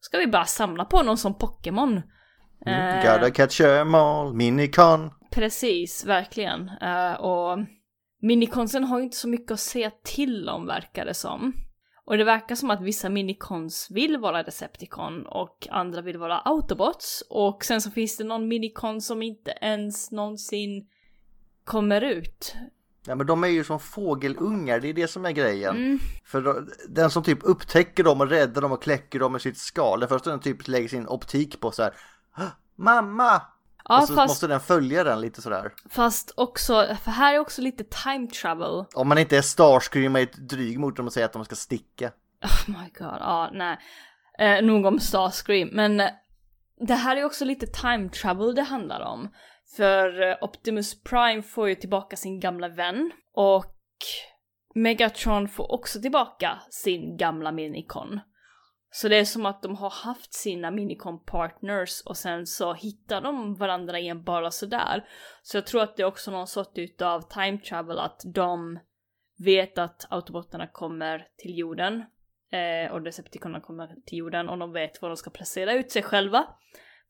[SPEAKER 1] Ska vi bara samla på någon som Pokémon?
[SPEAKER 4] Mm.
[SPEAKER 1] Eh,
[SPEAKER 4] Gotta catch 'em all, minicon.
[SPEAKER 1] Precis, verkligen. Eh, och minikonsen har ju inte så mycket att säga till om verkar det som. Och det verkar som att vissa minikons vill vara Decepticon och andra vill vara Autobots. Och sen så finns det någon minikon som inte ens någonsin kommer ut.
[SPEAKER 4] Ja, men de är ju som fågelungar, det är det som är grejen.
[SPEAKER 1] Mm.
[SPEAKER 4] För då, den som typ upptäcker dem och räddar dem och kläcker dem med sitt skal, den första den typ lägger sin optik på så här. "Hå, Mamma!
[SPEAKER 1] Ja,
[SPEAKER 4] och så
[SPEAKER 1] fast,
[SPEAKER 4] Alltså, måste den följa den lite sådär.
[SPEAKER 1] fast också, för här är också lite time travel.
[SPEAKER 4] Om man inte är Starscream och är dryg mot dem och säger att de ska sticka.
[SPEAKER 1] Oh my god, ja nej. Eh, nog om Starscream, men eh, det här är också lite time travel det handlar om. För eh, Optimus Prime får ju tillbaka sin gamla vän och Megatron får också tillbaka sin gamla minikon. Så det är som att de har haft sina minikon-partners och sen så hittar de varandra igen bara sådär. Så jag tror att det är också någon sort utav time travel att de vet att autobotterna kommer till jorden eh, och Decepticonerna kommer till jorden och de vet var de ska placera ut sig själva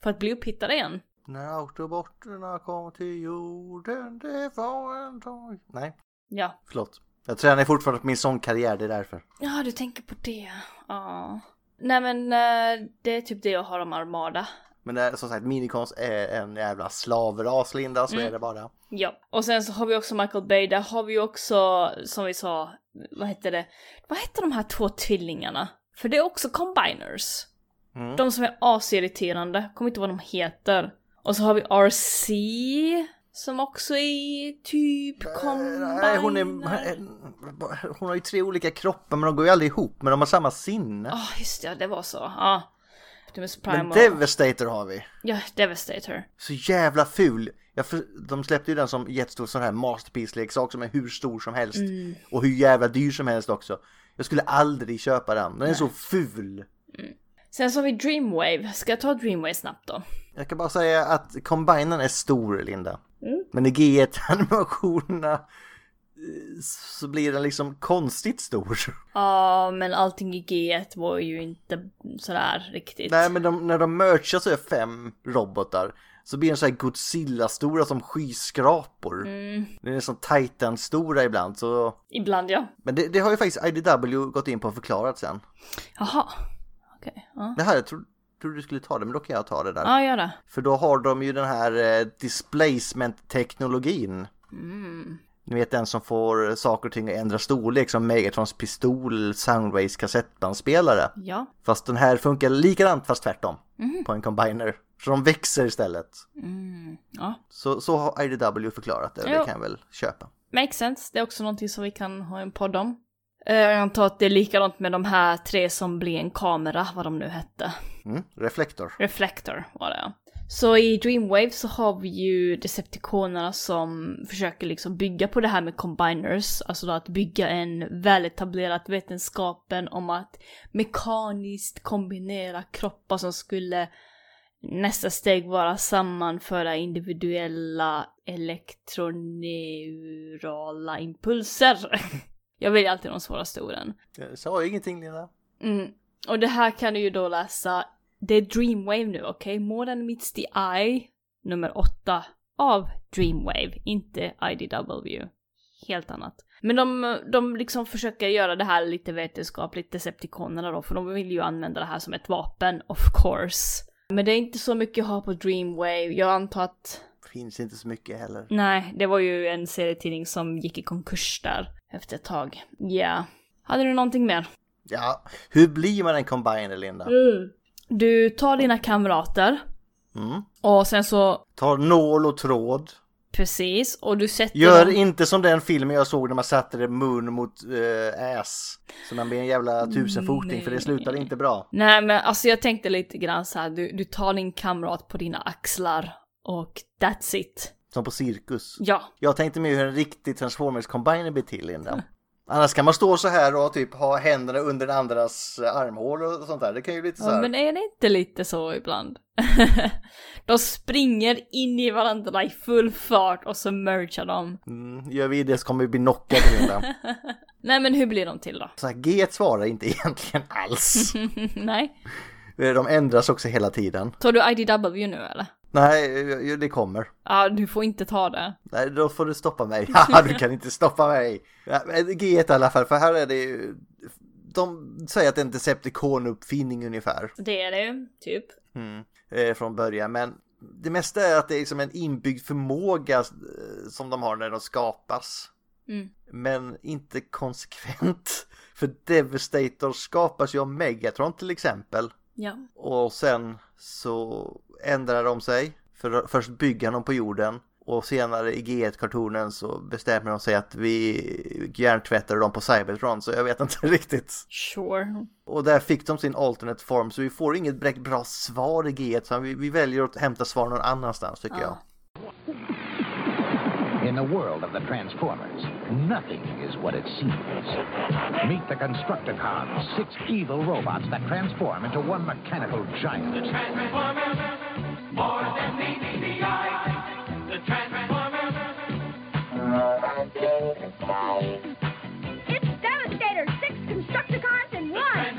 [SPEAKER 1] för att bli upphittade igen.
[SPEAKER 4] När autobotterna kom till jorden, det var en dag... Nej,
[SPEAKER 1] Ja.
[SPEAKER 4] förlåt. Jag tränar fortfarande på min sångkarriär, det är därför.
[SPEAKER 1] Ja, du tänker på det. Ja. Nej men eh, det är typ det jag har om Armada.
[SPEAKER 4] Men det är, som sagt, Minicons är en jävla slavras, Linda,
[SPEAKER 1] Mm.
[SPEAKER 4] så är det bara.
[SPEAKER 1] Ja. Och sen så har vi också Michael Bay, där har vi ju också, som vi sa, vad hette det? Vad hette de här två tvillingarna? För det är också combiners.
[SPEAKER 4] Mm.
[SPEAKER 1] De som är asirriterande, kommer inte ihåg vad de heter. Och så har vi RC, som också är typ combiner.
[SPEAKER 4] Eh, Nej, hon, är, hon har ju tre olika kroppar men de går ju aldrig ihop men de har samma sinne.
[SPEAKER 1] Ja, just det, det var så. Ja. Optimus Prime
[SPEAKER 4] men
[SPEAKER 1] och...
[SPEAKER 4] Devastator har vi.
[SPEAKER 1] Ja, Devastator.
[SPEAKER 4] Så jävla ful. Jag för... De släppte ju den som jättestor sån här masterpiece-leksak som är hur stor som helst. Och hur jävla dyr som helst också. Jag skulle aldrig köpa den. Den är så ful.
[SPEAKER 1] Sen så har vi Dreamwave. Ska jag ta Dreamwave snabbt då?
[SPEAKER 4] Jag kan bara säga att combinen är stor Linda. Men i G1-animationerna eh, så blir den liksom konstigt stor.
[SPEAKER 1] Ja, men allting i G1 var ju inte sådär riktigt.
[SPEAKER 4] Nej men de, när de merchar så är fem robotar så blir de så här Godzilla-stora som skyskrapor. Det är som Titan-stora ibland så...
[SPEAKER 1] Ibland ja.
[SPEAKER 4] Men det, det har ju faktiskt IDW gått in på och förklarat sen.
[SPEAKER 1] Jaha. Okej. Ja.
[SPEAKER 4] Det här, jag tror, tror du skulle ta det men då kan jag ta det där.
[SPEAKER 1] ja, gör det.
[SPEAKER 4] För då har de ju den här eh, displacement-teknologin. Ni vet den som får saker och ting att ändra storlek som Megatrons pistol, Soundwaves kassettbandspelare.
[SPEAKER 1] Ja.
[SPEAKER 4] Fast den här funkar likadant fast tvärtom
[SPEAKER 1] Mhm.
[SPEAKER 4] på en combiner. Så de växer istället.
[SPEAKER 1] Mm, ja.
[SPEAKER 4] Så, så har IDW förklarat det och
[SPEAKER 1] Jo.
[SPEAKER 4] det kan jag väl köpa.
[SPEAKER 1] Makes sense. Det är också någonting som vi kan ha en podd om. Eh, Jag antar att det är likadant med de här tre som blir en kamera, vad de nu hette.
[SPEAKER 4] Mm. Reflektor.
[SPEAKER 1] Reflector var det ja. Så i Dreamwave så har vi ju Decepticonerna som försöker liksom bygga på det här med combiners, alltså då att bygga en väletablerad vetenskapen om att mekaniskt kombinera kroppar som skulle nästa steg vara sammanföra individuella elektroneurala impulser. Jag väljer alltid de svåraste orden.
[SPEAKER 4] Jag sa ju ingenting Lina.
[SPEAKER 1] Mm. Och det här kan du ju då läsa, det är Dreamwave nu, okej? More than meets the eye, nummer åtta av Dreamwave, inte IDW. helt annat. Men de, de liksom försöker göra det här lite vetenskapligt, Decepticonerna då, för de vill ju använda det här som ett vapen, of course. Men det är inte så mycket att ha på Dreamwave. Jag antar att
[SPEAKER 4] Finns inte så mycket heller.
[SPEAKER 1] Nej, det var ju en serietidning som gick i konkurs där efter ett tag. Ja. Hade du någonting mer?
[SPEAKER 4] Ja, hur blir man en combiner, Linda?
[SPEAKER 1] Mm. Du tar dina kamrater
[SPEAKER 4] Mm.
[SPEAKER 1] och sen så,
[SPEAKER 4] Ta nål och tråd.
[SPEAKER 1] precis, och du sätter
[SPEAKER 4] Gör
[SPEAKER 1] dem-
[SPEAKER 4] inte som den filmen jag såg när man satte det mun mot äh, ass. Så man blir en jävla tusenfoting för det slutade inte bra.
[SPEAKER 1] Nej men alltså jag tänkte lite grann så här, du, du tar din kamrat på dina axlar och that's it.
[SPEAKER 4] Som på cirkus.
[SPEAKER 1] Ja.
[SPEAKER 4] Jag tänkte mig hur en riktig Transformers Combiner blir till Linda. Annars kan man stå så här och typ ha händerna under den andras eh, armhål och sånt där. Det kan ju bli lite så
[SPEAKER 1] ja.
[SPEAKER 4] här.
[SPEAKER 1] Men är det inte lite så ibland? de springer in i varandra i full fart och så mergar de.
[SPEAKER 4] mm, gör vi det så kommer vi bli knockade Linda.
[SPEAKER 1] Nej men hur blir de till då?
[SPEAKER 4] Så här, G svarar inte egentligen alls. Eh,
[SPEAKER 1] Nej.
[SPEAKER 4] De ändras också hela tiden.
[SPEAKER 1] Tar du IDW nu eller?
[SPEAKER 4] Nej, eh, det kommer.
[SPEAKER 1] Ja, du får inte ta det.
[SPEAKER 4] Nej, då får du stoppa mig. Haha, du kan inte stoppa mig. Ja, men G1 i alla fall, för här är det ju... De säger att det är en Decepticon-uppfinning ungefär.
[SPEAKER 1] Det är det ju, typ.
[SPEAKER 4] Mm, eh, från början. Men det mesta är att det är liksom en inbyggd förmåga eh, som de har när de skapas.
[SPEAKER 1] Mm.
[SPEAKER 4] Men inte konsekvent. För Devastator skapas ju av Megatron till exempel.
[SPEAKER 1] Ja.
[SPEAKER 4] Och sen så ändrar de sig. För först bygger de på jorden. Och senare i G1-kartonen så bestämmer de sig att vi hjärntvättar dem på Cybertron. Så jag vet inte riktigt.
[SPEAKER 1] Sure.
[SPEAKER 4] Och där fick de sin alternate form så vi får inget direkt bra svar i G1 så vi, vi väljer att hämta svar någon annanstans tycker jag.
[SPEAKER 8] In the world of the Transformers, nothing is what it seems. Meet the Constructicons, six evil robots that transform into one mechanical giant.
[SPEAKER 7] Transformers, more than meets the eye. The Transformers.
[SPEAKER 9] It's Devastator! Six Constructicons in one!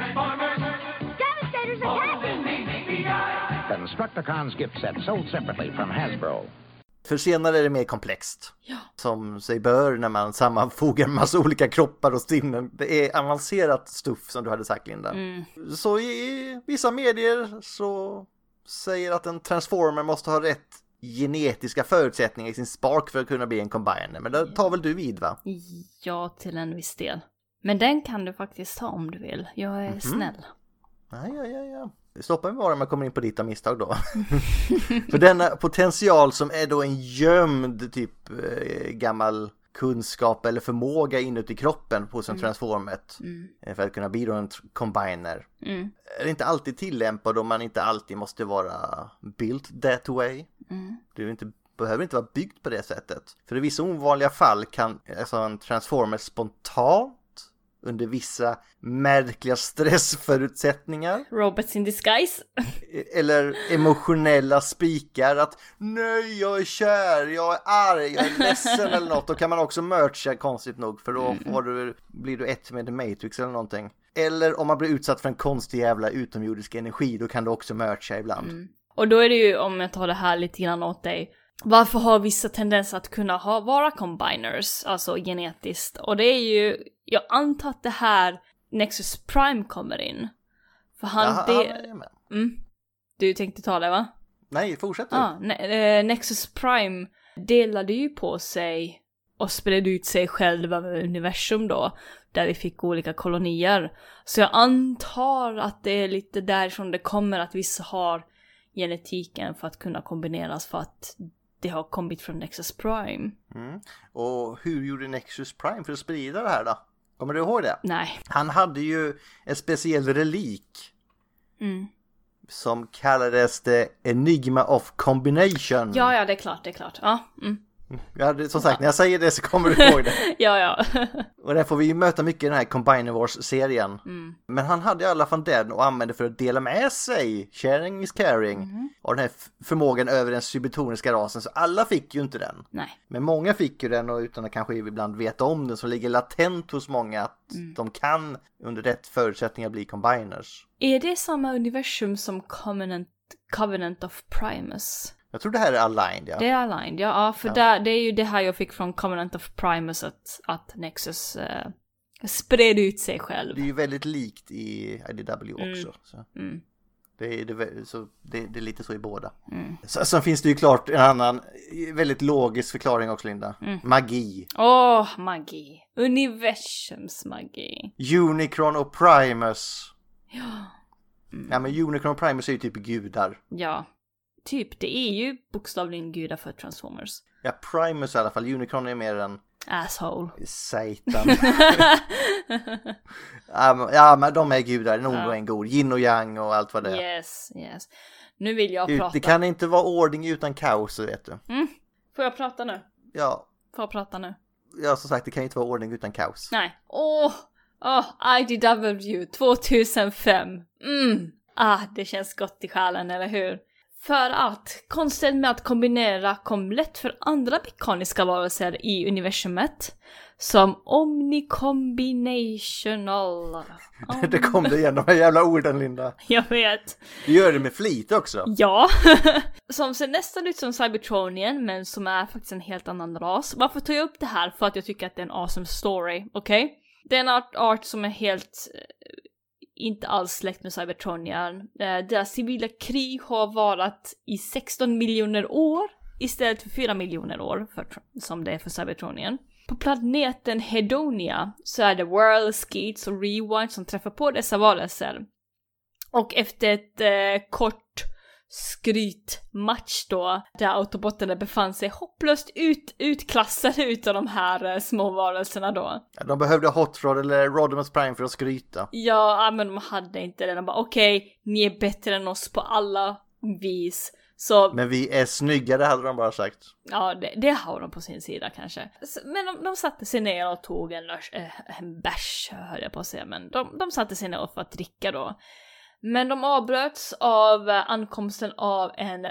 [SPEAKER 9] Devastator's attacking!
[SPEAKER 8] Constructicons gift set sold separately from Hasbro.
[SPEAKER 4] För senare är det mer komplext. Som sig bör när man sammanfogar en massa olika kroppar och sinnen. Det är avancerat stuff som du hade sagt Linda. Så i vissa medier så säger att en transformer måste ha rätt genetiska förutsättningar i sin spark för att kunna bli en combiner. Men det tar väl du vid va?
[SPEAKER 1] Ja, till en viss del. Men den kan du faktiskt ta om du vill. Jag är snäll.
[SPEAKER 4] Ja, ja, ja, ja. Stoppa mig bara om jag kommer in på ditt av misstag då. För denna potential som är då en gömd typ eh, gammal kunskap eller förmåga inuti kroppen hos en transformet eh, för att kunna bli då en tr- combiner.
[SPEAKER 1] Mm.
[SPEAKER 4] Är inte alltid tillämpad och man inte alltid måste vara built that way. Du är inte, behöver inte vara byggd på det sättet. För i vissa ovanliga fall kan alltså en transformer spontant under vissa märkliga stressförutsättningar
[SPEAKER 1] Robots in disguise.
[SPEAKER 4] eller emotionella spikar att nej jag är kär, jag är arg, jag är ledsen eller något. Då kan man också mercha konstigt nog för då
[SPEAKER 1] Mm.
[SPEAKER 4] får du, blir du ett med The Matrix eller någonting. Eller om man blir utsatt för en konstig jävla utomjordisk energi då kan du också mercha ibland.
[SPEAKER 1] Och då är det ju, om jag tar det här lite grann åt dig, varför har vissa tendenser att kunna ha, vara combiners, alltså genetiskt? Och det är ju, jag antar att det här Nexus Prime kommer in. För han,
[SPEAKER 4] Jaha,
[SPEAKER 1] det,
[SPEAKER 4] ja, men-
[SPEAKER 1] du tänkte ta det va?
[SPEAKER 4] Nej, fortsätt du.
[SPEAKER 1] Ja, ne- eh, Nexus Prime delade ju på sig och spred ut sig själv över universum då, där vi fick olika kolonier. Så jag antar att det är lite därifrån det kommer att vissa har genetiken för att kunna kombineras för att det har kommit från Nexus Prime.
[SPEAKER 4] Och hur gjorde Nexus Prime för att sprida det här då? Kommer du ihåg det?
[SPEAKER 1] Nej.
[SPEAKER 4] Han hade ju en speciell relik.
[SPEAKER 1] Mm.
[SPEAKER 4] Som kallades det Enigma of Combination.
[SPEAKER 1] Ja, ja, det är klart, det är klart. Ja, mm.
[SPEAKER 4] Ja, det, som sagt, när jag säger det så kommer du ihåg det.
[SPEAKER 1] ja, ja.
[SPEAKER 4] Och där får vi ju möta mycket i den här Combiner Wars-serien. Men han hade i alla fall den och använde för att dela med sig, sharing is caring, och den här f- förmågan över den subitoniska rasen. Så alla fick ju inte den.
[SPEAKER 1] Nej.
[SPEAKER 4] Men många fick ju den och utan att kanske ibland veta om den så ligger latent hos många att de kan under rätt förutsättningar bli combiners.
[SPEAKER 1] Är det samma universum som Covenant, Covenant of Primus?
[SPEAKER 4] Jag tror det här är aligned ja.
[SPEAKER 1] Det är aligned, ja. ja för Där, det är ju det här jag fick från Covenant of Primus att, att Nexus eh, spred ut sig själv.
[SPEAKER 4] Det är ju väldigt likt i IDW också. Så. Det, är, det, är vä- så det, det är lite så i båda. Så, sen finns det ju klart en annan eh, väldigt logisk förklaring också Linda. Magi.
[SPEAKER 1] Åh, magi. Universums magi.
[SPEAKER 4] Unicron och Primus. Ja. Ja men Unicron och Primus är ju typ gudar.
[SPEAKER 1] Ja. Typ, det är ju bokstavligen gudar för Transformers.
[SPEAKER 4] Ja Primus i alla fall, Unicron är mer en
[SPEAKER 1] Asshole.
[SPEAKER 4] Satan. ja, men, ja men de är gudar, en ond och en god. Yin och yang och allt vad det är.
[SPEAKER 1] Yes, yes. Nu vill jag
[SPEAKER 4] Ut-
[SPEAKER 1] prata.
[SPEAKER 4] Det kan inte vara ordning utan kaos vet du.
[SPEAKER 1] Får jag prata nu?
[SPEAKER 4] Ja,
[SPEAKER 1] Får jag prata nu?
[SPEAKER 4] ja, som sagt det kan inte vara ordning utan kaos.
[SPEAKER 1] Nej. Åh! Åh, IDW 2005. Mm! Ah, det känns gott i själen, eller hur? För att konsten med att kombinera kom lätt för andra mekaniska varelser i universumet. Som omnicombinational. Om-
[SPEAKER 4] Det kom det igen, de här jävla orden Linda.
[SPEAKER 1] jag vet.
[SPEAKER 4] Du gör det med flit också.
[SPEAKER 1] Ja. som ser nästan ut som Cybertronien men som är faktiskt en helt annan ras. Varför tar jag upp det här? För att jag tycker att det är en awesome story, okej? Det är en art, art som är helt eh, inte alls släkt med Cybertronian. Eh, deras civila krig har varat i 16 miljoner år istället för 4 miljoner år för, som det är för Cybertronien. På planeten Hedonia så är det Whirl, Skeets och Rewind som träffar på dessa varelser. Och efter ett eh, kort skrytmatch då, där autobotterna befann sig hopplöst ut, utklassade utav de här eh, små varelserna då.
[SPEAKER 4] Ja, De behövde Hot Rod eller Rodimus Prime för att skryta.
[SPEAKER 1] Ja, ja, men de hade inte det. De bara okej, ni är bättre än oss på alla vis. Så
[SPEAKER 4] Men vi är snyggare hade de bara sagt.
[SPEAKER 1] ja, det, det har de på sin sida kanske. S- Men de, de satte sig ner och tog en, lös- eh, en bärs, höll jag på att säga, men de, de satte sig ner för att dricka då. Men de avbröts av eh, ankomsten av en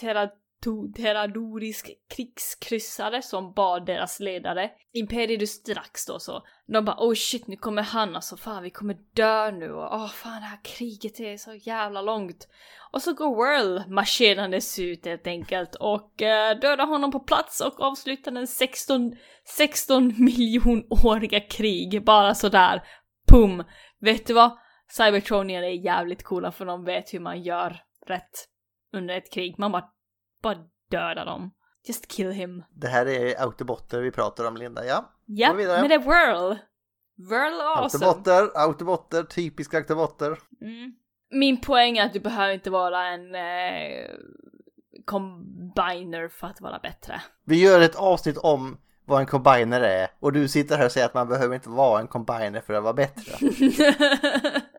[SPEAKER 1] teratu- teradorisk krigskryssare som bar deras ledare, Imperius Drax då så. De bara oh shit nu kommer han alltså, fan vi kommer dö nu och åh fan det här kriget är så jävla långt. Och så går Whirl marscherandes ut helt enkelt och eh, dödar honom på plats och avslutar den 16, 16 miljonåriga krig bara sådär. Pum! Vet du vad? Cybertronier är jävligt coola för de vet hur man gör rätt under ett krig. Man bara, bara dödar dem. Just kill him.
[SPEAKER 4] Det här är autobotter vi pratar om Linda, ja.
[SPEAKER 1] Ja,
[SPEAKER 4] Gå vidare.
[SPEAKER 1] men det är Whirl! Whirl är awesome!
[SPEAKER 4] Autobotter, autobotter, typiska autobotter.
[SPEAKER 1] Mm. Min poäng är att du behöver inte vara en eh, combiner för att vara bättre.
[SPEAKER 4] Vi gör ett avsnitt om vad en combiner är och du sitter här och säger att man behöver inte vara en combiner för att vara bättre.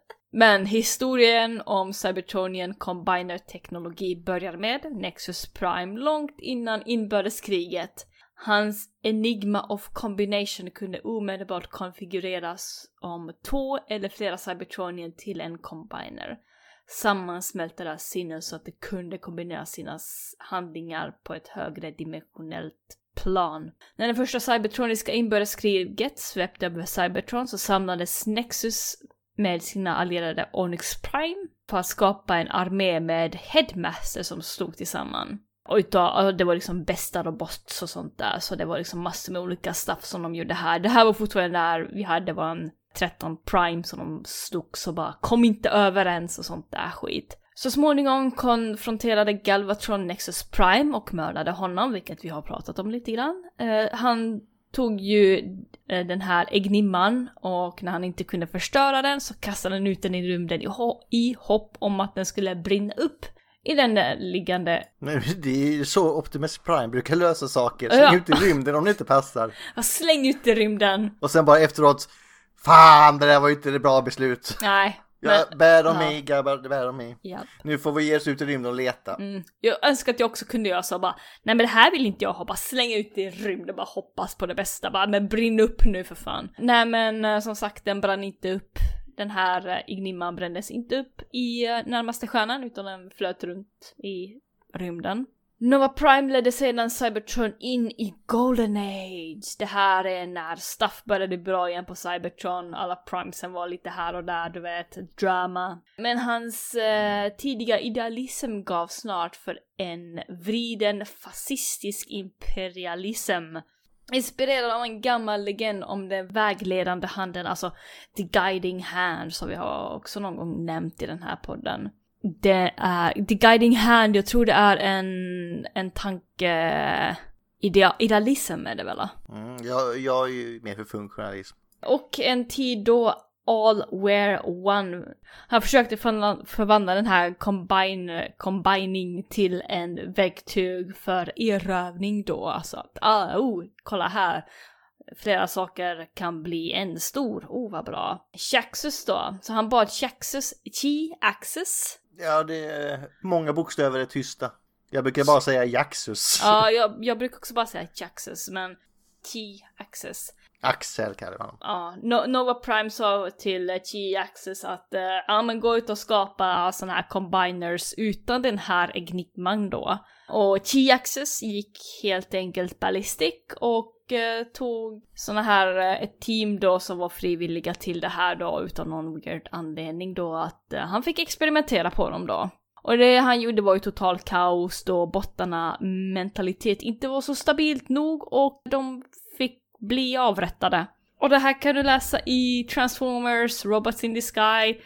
[SPEAKER 1] Men historien om Cybertronian Combiner-teknologi börjar med Nexus Prime långt innan inbördeskriget. Hans Enigma of Combination kunde omedelbart konfigureras om två eller flera Cybertronian till en Combiner. Sammansmälta deras sinnen så att de kunde kombinera sina s- handlingar på ett högre dimensionellt plan. När det första cybertroniska inbördeskriget svepte över Cybertron så samlades Nexus med sina allierade Onyx Prime för att skapa en armé med Headmaster som slog tillsammans. Och utav, och det var liksom bästa robots och sånt där, så det var liksom massor med olika stuff som de gjorde här. Det här var fortfarande när vi hade våran 13 Prime som de slog så bara kom inte överens och sånt där skit. Så småningom konfronterade Galvatron Nexus Prime och mördade honom, vilket vi har pratat om lite grann. Eh, han tog ju eh, den här Egnimman och när han inte kunde förstöra den så kastade han ut den i rymden i, ho- i hopp om att den skulle brinna upp i den där liggande...
[SPEAKER 4] Nu, det är ju så Optimus Prime brukar lösa saker.
[SPEAKER 1] Ja.
[SPEAKER 4] Släng ut i rymden om det inte passar.
[SPEAKER 1] Ah, Släng ut i rymden!
[SPEAKER 4] Och sen bara efteråt, fan det där var ju inte det bra beslut.
[SPEAKER 1] Nej.
[SPEAKER 4] Ja, bär dem
[SPEAKER 1] ja.
[SPEAKER 4] i grabbar, bär dem i.
[SPEAKER 1] Ja.
[SPEAKER 4] Nu får vi ge oss ut i rymden och leta.
[SPEAKER 1] Mm. Jag önskar att jag också kunde göra så bara, nej men det här vill inte jag ha, bara slänga ut det i rymden, bara hoppas på det bästa, bara men brinn upp nu för fan. Nej men eh, som sagt, den brann inte upp. Den här eh, Ignimman brändes inte upp i eh, närmaste stjärnan utan den flöt runt i rymden. Nova Prime ledde sedan Cybertron in i Golden Age. Det här är när stuff började bli bra igen på Cybertron. Alla primesen var lite här och där, du vet, drama. Men hans eh, tidiga idealism gav snart för en vriden fascistisk imperialism. Inspirerad av en gammal legend om den vägledande handen, alltså the guiding hand som vi har också någon gång nämnt i den här podden. Det är, the guiding hand, jag tror det är en, en tanke... Idea, idealism är det väl? va?
[SPEAKER 4] Mm, jag, jag är ju mer för funktionalism.
[SPEAKER 1] Och en tid då All Were One. Han försökte förvandla- förvandla den här combine, combining till en verktyg för erövning då. Alltså att, ah, oh, kolla här. Flera saker kan bli en stor. Oh, vad bra. Chaxus då. Så han bad Chaxus, Chi Axis.
[SPEAKER 4] Ja, det är, många bokstäver är tysta. Jag brukar bara säga Jaxus.
[SPEAKER 1] Ja, jag, jag brukar också bara säga Chaxus, men Chi Axis.
[SPEAKER 4] Axel kallar vi honom.
[SPEAKER 1] Ja, no- Nova Prime sa till eh, Chi Axis att eh, ja men gå ut och skapa sådana här combiners utan den här enigman då. Och Chi Axis gick helt enkelt ballistic och eh, tog sådana här, eh, ett team då som var frivilliga till det här då utan någon weird anledning då att eh, han fick experimentera på dem då. Och det han gjorde var ju total kaos då bottarna mentalitet inte var så stabilt nog och de fick bli avrättade. Och det här kan du läsa i Transformers, Robots in the Sky,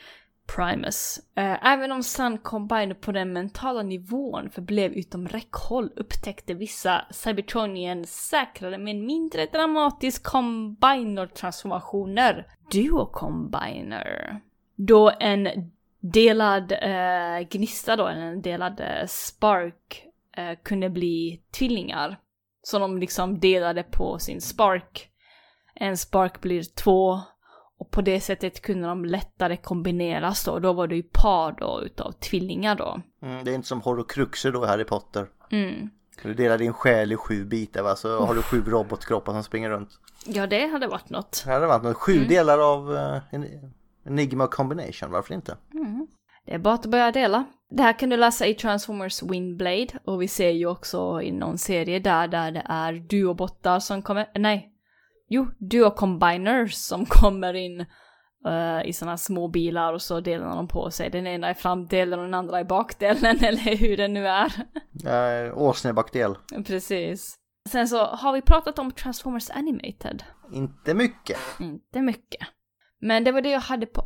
[SPEAKER 1] Primus. Eh, Även om Sun Combine på den mentala nivån förblev utom räckhåll upptäckte vissa Cybertronien säkrare men mindre dramatisk Combiner-transformationer. Duo Combiner. Då en delad eh, gnista då, en delad eh, spark eh, kunde bli tvillingar. Så de liksom delade på sin spark. En spark blir två och på det sättet kunde de lättare kombineras då. Då var det ju par då utav tvillingar då.
[SPEAKER 4] Mm, det är inte som Horrocruxer då i Harry Potter.
[SPEAKER 1] Mm.
[SPEAKER 4] Du delar din själ i sju bitar va, så har du sju robotkroppar som springer runt.
[SPEAKER 1] Ja, det hade varit något.
[SPEAKER 4] Det hade varit något.
[SPEAKER 1] Mm.
[SPEAKER 4] Sju delar av eh, en Enigma Combination, varför inte?
[SPEAKER 1] Det är bara att börja dela. Det här kan du läsa i Transformers Windblade och vi ser ju också i någon serie där, där det är duobottar som kommer, nej, jo, duocombiners som kommer in eh, i sådana små bilar och så delar de på sig. Den ena är framdelen och den andra är bakdelen eller hur det nu är.
[SPEAKER 4] Eh, Åsnebakdel.
[SPEAKER 1] Precis. Sen så har vi pratat om Transformers Animated.
[SPEAKER 4] Inte mycket.
[SPEAKER 1] Inte mycket. Men det var det jag hade på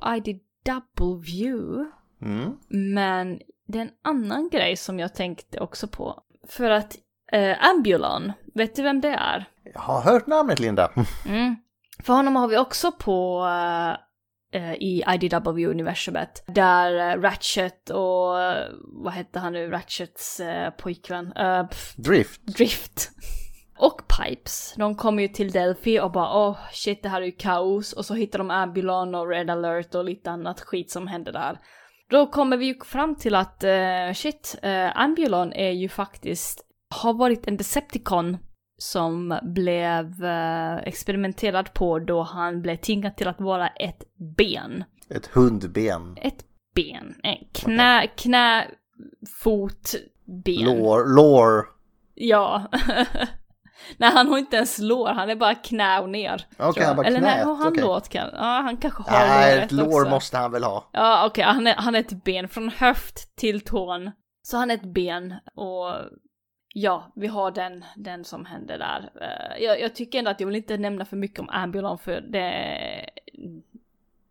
[SPEAKER 1] IDW.
[SPEAKER 4] Mm.
[SPEAKER 1] Men det är en annan grej som jag tänkte också på. För att eh, Ambulon, vet du vem det är?
[SPEAKER 4] Jag har hört namnet Linda.
[SPEAKER 1] Mm. För honom har vi också på eh, eh, i IDW-universumet. Där eh, Ratchet och eh, vad hette han nu, Ratchets eh, pojkvän? Eh, pff,
[SPEAKER 4] Drift.
[SPEAKER 1] Drift. Och Pipes. De kommer ju till Delphi och bara åh shit det här är ju kaos och så hittar de Abylon och Red alert och lite annat skit som händer där. Då kommer vi ju fram till att eh, shit, eh, Ambulon är ju faktiskt, har varit en Decepticon som blev eh, experimenterad på då han blev tvingad till att vara ett ben.
[SPEAKER 4] Ett hundben.
[SPEAKER 1] Ett ben. En knä, knä, fot, ben.
[SPEAKER 4] Lår. Lår.
[SPEAKER 1] Ja. nej, han har inte ens lår, han är bara knä och ner.
[SPEAKER 4] Okej,
[SPEAKER 1] tror jag.
[SPEAKER 4] han bara
[SPEAKER 1] Eller nej,
[SPEAKER 4] knät,
[SPEAKER 1] har han
[SPEAKER 4] okej.
[SPEAKER 1] låt kan... Ja, han kanske har
[SPEAKER 4] Nej, ett
[SPEAKER 1] låret
[SPEAKER 4] lår
[SPEAKER 1] också.
[SPEAKER 4] måste han väl ha.
[SPEAKER 1] Ja, okej, han, är, han är ett ben från höft till tån. Så han är ett ben och ja, vi har den, den som händer där. Eh, Jag, jag tycker ändå att jag vill inte nämna för mycket om Ambulon för det,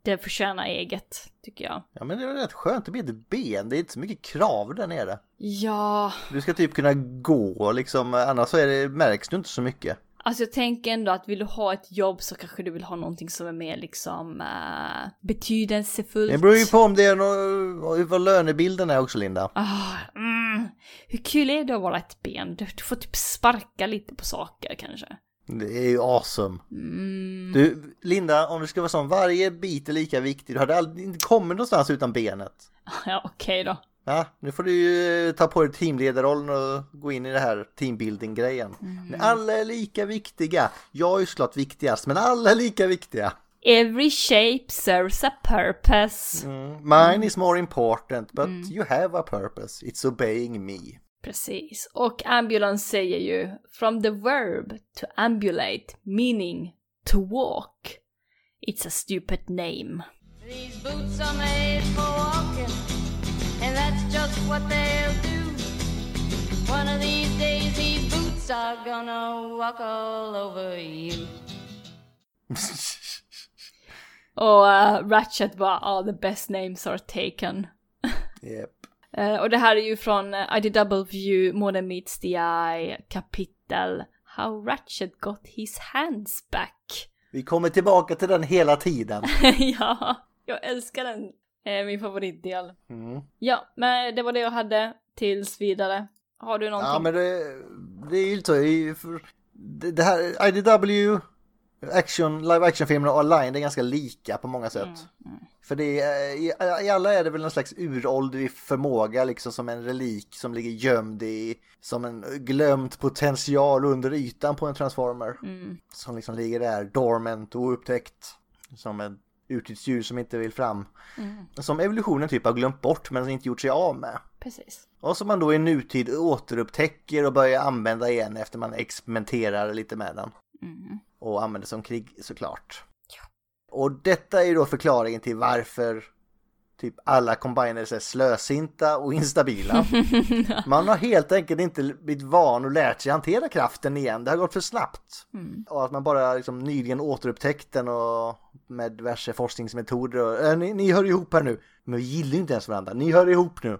[SPEAKER 1] det förtjänar eget, tycker jag.
[SPEAKER 4] Ja, men det är väl rätt skönt. Det blir ett ben. Det är inte så mycket krav där nere.
[SPEAKER 1] Ja,
[SPEAKER 4] Du ska typ kunna gå liksom, annars så är det, märks du inte så mycket.
[SPEAKER 1] Alltså jag tänker ändå att vill du ha ett jobb så kanske du vill ha någonting som är mer liksom eh, betydelsefullt.
[SPEAKER 4] Det beror ju på om det är nå- vad lönebilden är också Linda.
[SPEAKER 1] Ah, mm. Hur kul är det att vara ett ben? Du, du får typ sparka lite på saker kanske.
[SPEAKER 4] Det är ju awesome.
[SPEAKER 1] Mm.
[SPEAKER 4] Du, Linda, om du ska vara sån, varje bit är lika viktig. Du hade aldrig inte kommit någonstans utan benet.
[SPEAKER 1] ja, okej då.
[SPEAKER 4] Ja, nu får du ju ta på dig teamledarrollen och gå in i det här teambuilding-grejen. Men Alla är lika viktiga. Jag är ju såklart viktigast, men alla är lika viktiga.
[SPEAKER 1] Every shape serves a purpose.
[SPEAKER 4] Mm. Mine is more important, but you have a purpose. It's obeying me.
[SPEAKER 1] Precis. Och ambulance säger ju from the verb to ambulate meaning to walk. It's a stupid name.
[SPEAKER 10] These boots are made for walking, and that's just what they'll do. One of these days, these boots are gonna walk all over you.
[SPEAKER 1] Och eh, Ratchet bara, ah, the best names are taken.
[SPEAKER 4] Yep.
[SPEAKER 1] Eh, och det här är ju från eh, IDW, More Than Meets the Eye, kapitel How Ratchet Got His Hands Back.
[SPEAKER 4] Vi kommer tillbaka till den hela tiden.
[SPEAKER 1] ja, jag älskar den. Eh, min favoritdel.
[SPEAKER 4] Mm.
[SPEAKER 1] Ja, men det var det jag hade tills vidare. Har du någonting?
[SPEAKER 4] Ja men det, det är ju inte så. det är ju för- Det det här IDW, action, live action-filmerna och online det är ganska lika på många sätt. För det är, i, i alla är det väl någon slags uråldrig förmåga liksom som en relik som ligger gömd i, som en glömd potential under ytan på en transformer. Som liksom ligger där dormant och oupptäckt. Som ett utnyttjningsdjur som inte vill fram. Som evolutionen typ har glömt bort men inte gjort sig av med.
[SPEAKER 1] Precis.
[SPEAKER 4] Och som man då i nutid återupptäcker och börjar använda igen efter man experimenterar lite med den. Och använder som krig såklart. Och detta är ju då förklaringen till varför typ alla combiners är slösinta och instabila. Man har helt enkelt inte blivit van och lärt sig hantera kraften igen. Det har gått för snabbt. Och att man bara liksom nyligen återupptäckt den och med diverse forskningsmetoder. Och, äh, ni, ni hör ihop här nu. Men vi gillar ju inte ens varandra. Ni hör ihop nu.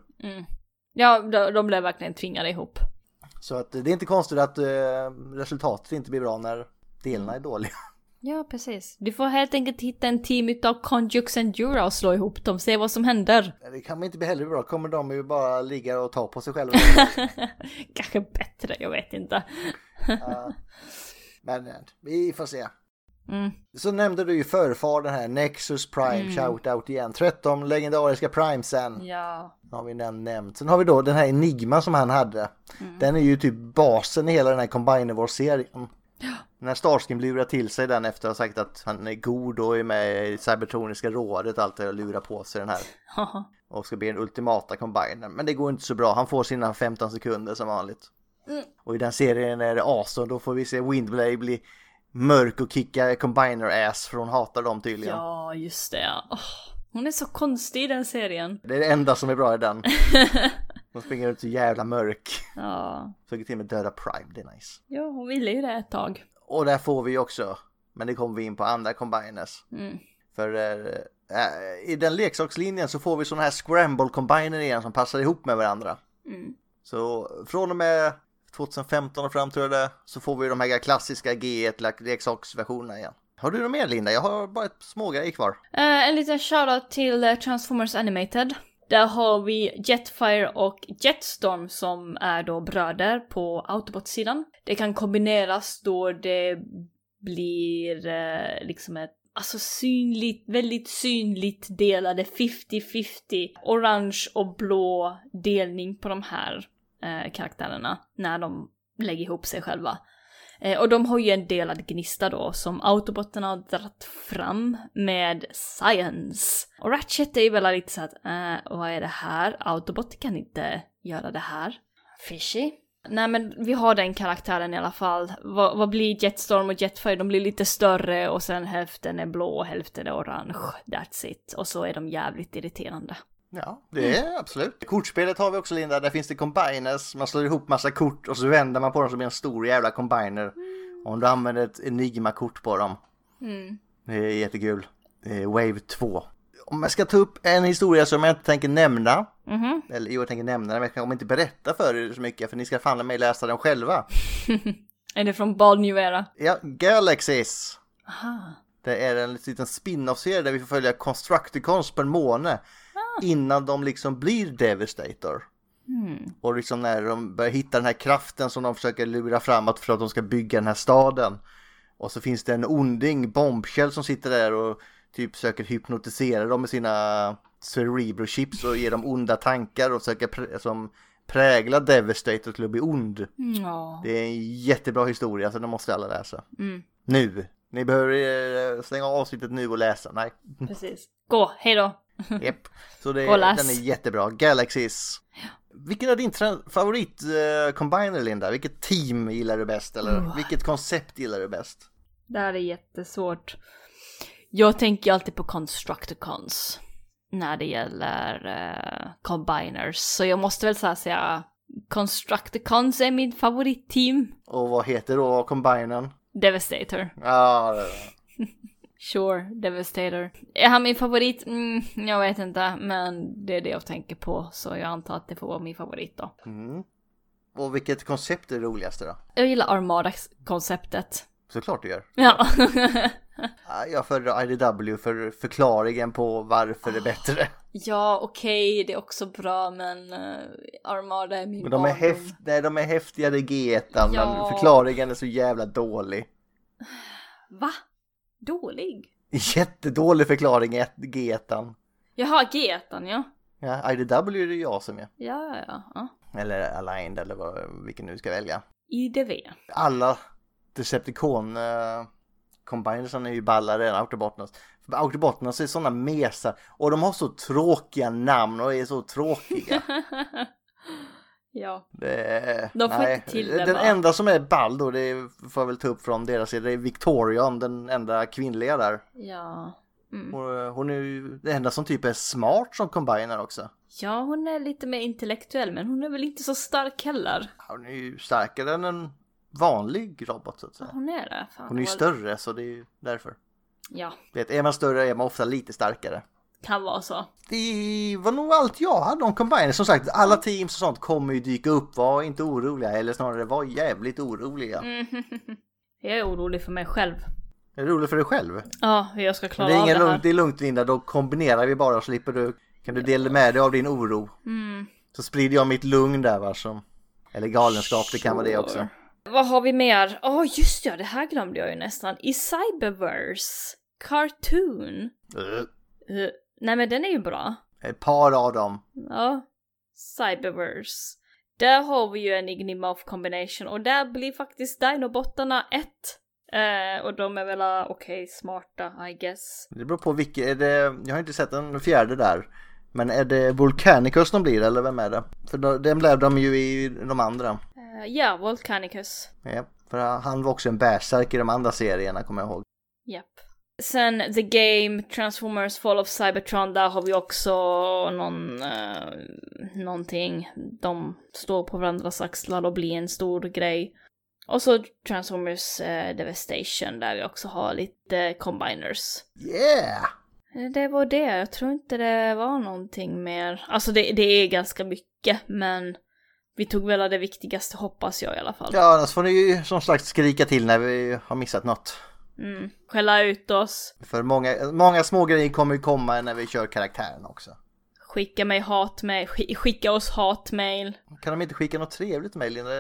[SPEAKER 1] Ja, de, de blev verkligen tvingade ihop.
[SPEAKER 4] Så att det är inte konstigt att eh, resultatet inte blir bra när
[SPEAKER 1] Mm.
[SPEAKER 4] delarna är dåliga.
[SPEAKER 1] Ja, precis. Du får helt enkelt hitta en team utav Conjux and Jura och slå ihop dem, se vad som händer.
[SPEAKER 4] Det kan man inte bli heller bra, kommer de ju bara ligga och ta på sig själva.
[SPEAKER 1] Kanske bättre, jag vet inte.
[SPEAKER 4] men men, vi får se.
[SPEAKER 1] Mm.
[SPEAKER 4] Så nämnde du ju förfadern här, Nexus Prime, shoutout igen. 13 legendariska Primesen
[SPEAKER 1] Ja.
[SPEAKER 4] har vi nämnt- nämnt. Sen har vi då den här Enigma som han hade.
[SPEAKER 1] Mm.
[SPEAKER 4] Den är ju typ basen i hela den här Combiner Wars-serien. När Starskin lurar till sig den efter att ha sagt att han är god och är med i Cybertroniska rådet och allt det där och lurar på sig den här. och ska bli den ultimata combinern. Men det går inte så bra, han får sina 15 sekunder som vanligt. Och i den serien är det awesome, då får vi se Windblade bli mörk och kicka combiner-ass för hon hatar dem tydligen.
[SPEAKER 1] ja, just det. ja. Åh, hon är så konstig i den serien.
[SPEAKER 4] Det är det enda som är bra i den. Hon springer ut så jävla mörk.
[SPEAKER 1] Ja.
[SPEAKER 4] Försöker till och med döda Prime, det är nice.
[SPEAKER 1] ja, hon ville ju det ett tag.
[SPEAKER 4] Och där får vi också, men det kommer vi in på andra combiners. För eh, eh, i den leksakslinjen så får vi sådana här scramble combiner igen som passar ihop med varandra. Så från och med 2015 och fram tror jag det, så får vi de här klassiska G1 leksaksversionerna igen. Har du något mer Linda? Jag har bara ett smågrej kvar.
[SPEAKER 1] Eh, en liten shoutout till eh, Transformers Animated. Där har vi Jetfire och Jetstorm som är då bröder på Autobot-sidan. Det kan kombineras då det blir eh, liksom ett alltså synligt, väldigt synligt delade 50-50 orange och blå delning på de här eh, karaktärerna när de lägger ihop sig själva. Eh, och de har ju en delad gnista då som autobotterna har dratt fram med science. Och Ratchet är ju väl lite så att, eh, vad är det här? Autobot kan inte göra det här. Fishy. Nej men vi har den karaktären i alla fall. Vad, vad blir Jetstorm och Jetfire? De blir lite större och sen hälften är blå och hälften är orange. That's it. Och så är de jävligt irriterande.
[SPEAKER 4] Ja, det är absolut. Kortspelet har vi också Linda, där finns det combiners, man slår ihop massa kort och så vänder man på dem så blir det en stor jävla combiner. Om du använder ett enigma-kort på dem. Det är jättekul. Det är Wave 2. Om jag ska ta upp en historia som jag inte tänker nämna. Eller jo, jag tänker nämna den, men jag kommer inte berätta för er så mycket för ni ska fan mig läsa den själva.
[SPEAKER 1] Är det från Bald New Era?
[SPEAKER 4] Ja, Galaxies.
[SPEAKER 1] Aha.
[SPEAKER 4] Det är en liten spin-off-serie där vi får följa Constructicons på en måne. Innan de liksom blir Devastator. Och liksom när de börjar hitta den här kraften som de försöker lura framåt för att de ska bygga den här staden. Och så finns det en onding, Bombshell, som sitter där och typ försöker hypnotisera dem med sina cerebrochips och ge dem onda tankar och försöker prä- som prägla Devastator till att bli ond.
[SPEAKER 1] Mm, Ja.
[SPEAKER 4] Det är en jättebra historia så den måste alla läsa.
[SPEAKER 1] Mm.
[SPEAKER 4] Nu! Ni behöver eh, stänga av avsnittet nu och läsa, nej.
[SPEAKER 1] Precis. Gå, hejdå.
[SPEAKER 4] Japp. Så det,
[SPEAKER 1] Och läs.
[SPEAKER 4] den är jättebra. Galaxies. Vilken är din tra- favorit eh, combiner Linda? Vilket team gillar du bäst eller
[SPEAKER 1] Oh.
[SPEAKER 4] vilket koncept gillar du bäst?
[SPEAKER 1] Det här är jättesvårt. Jag tänker alltid på Constructicons när det gäller eh, combiners. Så jag måste väl så här säga Constructicons är mitt favoritteam.
[SPEAKER 4] Och vad heter då combinern?
[SPEAKER 1] Devastator.
[SPEAKER 4] Ja, det-
[SPEAKER 1] Sure, Devastator. Är han min favorit? Mm, jag vet inte, men det är det jag tänker på. Så jag antar att det får vara min favorit då.
[SPEAKER 4] mm. Och vilket koncept är det roligaste då?
[SPEAKER 1] Jag gillar Armada-konceptet.
[SPEAKER 4] Såklart du gör.
[SPEAKER 1] Ja.
[SPEAKER 4] Ja, Jag föredrar IDW för förklaringen på varför
[SPEAKER 1] Ah.
[SPEAKER 4] det är bättre.
[SPEAKER 1] ja, okej, det är också bra, men eh, Armada är min
[SPEAKER 4] Men de är,
[SPEAKER 1] barndom.
[SPEAKER 4] häft... Nej, de är häftigare i G1,
[SPEAKER 1] Ja.
[SPEAKER 4] men förklaringen är så jävla dålig.
[SPEAKER 1] Va? Dålig?
[SPEAKER 4] Jättedålig förklaring i ett- G1.
[SPEAKER 1] Jaha, g ja.
[SPEAKER 4] Ja, IDW är det jag som är.
[SPEAKER 1] Ja, ja, ja.
[SPEAKER 4] Eller Aligned eller vad, vilken nu ska välja.
[SPEAKER 1] IDV.
[SPEAKER 4] Alla Decepticon uh, Combinersarna är ju ballare än Autobotnas. För Autobotnas är sådana mesar och de har så tråkiga namn och är så tråkiga.
[SPEAKER 1] ja.
[SPEAKER 4] Det är-
[SPEAKER 1] De får inte till det,
[SPEAKER 4] Den
[SPEAKER 1] va?
[SPEAKER 4] enda som är ball då, det får jag väl ta upp från deras sida, det är Victorian, den enda kvinnliga där.
[SPEAKER 1] Ja.
[SPEAKER 4] Hon, eh, hon är ju den enda som typ är smart som combiner också.
[SPEAKER 1] Ja, hon är lite mer intellektuell, men hon är väl inte så stark heller.
[SPEAKER 4] Hon är ju starkare än en vanlig robot så att säga.
[SPEAKER 1] Hon är det. Fan,
[SPEAKER 4] Hon är ju
[SPEAKER 1] vad-
[SPEAKER 4] större så det är ju därför.
[SPEAKER 1] Ja,
[SPEAKER 4] Du Vet, är man större är man ofta lite starkare.
[SPEAKER 1] kan vara så.
[SPEAKER 4] Det var nog allt jag hade om combiner. Som sagt, alla teams och sånt kommer ju dyka upp. Var inte oroliga, eller snarare var jävligt oroliga.
[SPEAKER 1] Mm. Jag är orolig för mig själv.
[SPEAKER 4] Är det roligt för dig själv?
[SPEAKER 1] Ja, hur jag ska
[SPEAKER 4] Men
[SPEAKER 1] klara
[SPEAKER 4] det är,
[SPEAKER 1] av
[SPEAKER 4] ingen
[SPEAKER 1] det här.
[SPEAKER 4] lugnt, det är lugnt Linda, då kombinerar vi bara och slipper du kan du dela med dig av din oro.
[SPEAKER 1] Mm.
[SPEAKER 4] Så sprider jag mitt lugn där va som, eller galenskap det kan vara det också.
[SPEAKER 1] Vad har vi mer? Åh, oh, just ja, det här glömde jag ju nästan. I Cyberverse, Cartoon. Eh, nej, men den är ju bra.
[SPEAKER 4] Ett par av dem.
[SPEAKER 1] Ja. Cyberverse. Där har vi ju en Ignimorph combination och där blir faktiskt Dinobottarna ett. Eh, och de är väl ah, okej smarta, I guess.
[SPEAKER 4] Det beror på vilket, är det, jag har inte sett en fjärde där. Men är det Vulcanicus de blir eller vem är det? För då, den blev de ju i de andra.
[SPEAKER 1] Eh, ja, Volcanicus.
[SPEAKER 4] Ja, för han var också en bärsärk i de andra serierna kommer jag ihåg.
[SPEAKER 1] Japp. Sen The Game, Transformers, Fall of Cybertron, där har vi också någon, eh, någonting. De står på varandras axlar och blir en stor grej. Och så Transformers eh, Devastation där vi också har lite combiners.
[SPEAKER 4] Yeah!
[SPEAKER 1] Eh, Det var det. Jag tror inte det var någonting mer. Alltså det, det är ganska mycket, men vi tog väl det viktigaste hoppas jag i alla fall.
[SPEAKER 4] Ja, annars får ni ju som sagt skrika till när vi har missat något.
[SPEAKER 1] Mm. Skälla ut oss,
[SPEAKER 4] För många, många små grejer kommer ju komma när vi kör karaktärerna också.
[SPEAKER 1] skicka mig hatmejl, sk- skicka oss hatmejl.
[SPEAKER 4] Kan de inte skicka något trevligt mejl? Linda?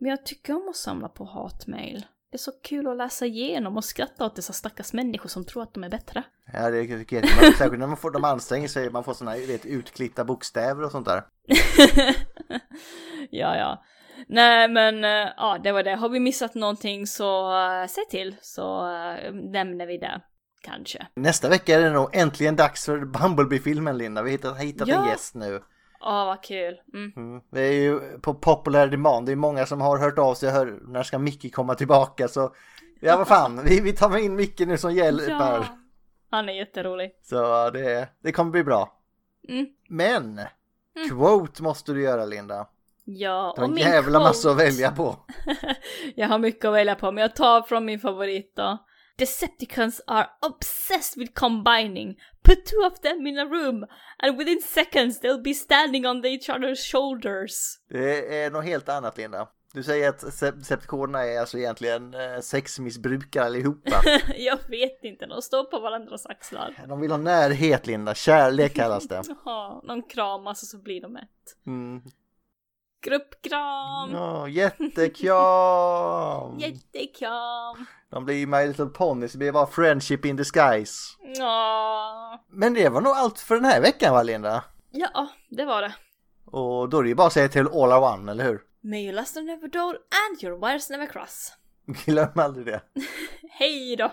[SPEAKER 1] Men jag tycker om att samla på hatmejl. Det är så kul att läsa igenom och skratta åt dessa stackars människor som tror att de är bättre.
[SPEAKER 4] Ja, det tycker jag inte. Särskilt när man får, de anstränger sig, man får sådana vet, utklippta bokstäver och sånt där.
[SPEAKER 1] ja, ja. Nej, men eh, ja, det var det. Har vi missat någonting så eh, säg till så eh, nämner vi det. Kanske.
[SPEAKER 4] Nästa vecka är det nog äntligen dags för Bumblebee-filmen Linda. Vi har hittat, hittat en
[SPEAKER 1] Ja.
[SPEAKER 4] gäst nu.
[SPEAKER 1] Åh, vad kul. Mm.
[SPEAKER 4] Mm. Det är ju på populär demand. Det är många som har hört av sig och hör när ska Micke komma tillbaka. Så ja, vad fan, vi, vi tar in Micke nu som hjälper.
[SPEAKER 1] Ja. Han är jätterolig.
[SPEAKER 4] Så det, det kommer bli bra.
[SPEAKER 1] Mm.
[SPEAKER 4] Men, quote måste du göra Linda.
[SPEAKER 1] Ja,
[SPEAKER 4] Du har
[SPEAKER 1] och
[SPEAKER 4] en
[SPEAKER 1] min
[SPEAKER 4] jävla
[SPEAKER 1] quote.
[SPEAKER 4] massa att välja på.
[SPEAKER 1] jag har mycket att välja på, men jag tar från min favorit då. Decepticons are obsessed with combining. Put two of them in a room and within seconds they'll be standing on each other's shoulders.
[SPEAKER 4] Det är något helt annat Linda. Du säger att Dece- Decepticonerna är alltså egentligen eh, sexmissbrukare allihopa.
[SPEAKER 1] jag vet inte, de står på varandras axlar.
[SPEAKER 4] De vill ha närhet Linda, kärlek kallas det.
[SPEAKER 1] Jaha, de kramas och så blir de ett.
[SPEAKER 4] Mm.
[SPEAKER 1] Gruppkram!
[SPEAKER 4] Ja, jättekram!
[SPEAKER 1] Jättekram!
[SPEAKER 4] De blir ju My Little Ponies, det blir bara Friendship in disguise.
[SPEAKER 1] Åh.
[SPEAKER 4] Men det var nog allt för den här veckan va Linda?
[SPEAKER 1] Ja, det var det.
[SPEAKER 4] Och då är det ju bara att säga till All I One, eller hur?
[SPEAKER 1] May your luster never dull and your wires never cross.
[SPEAKER 4] Glöm aldrig det.
[SPEAKER 1] Hej då!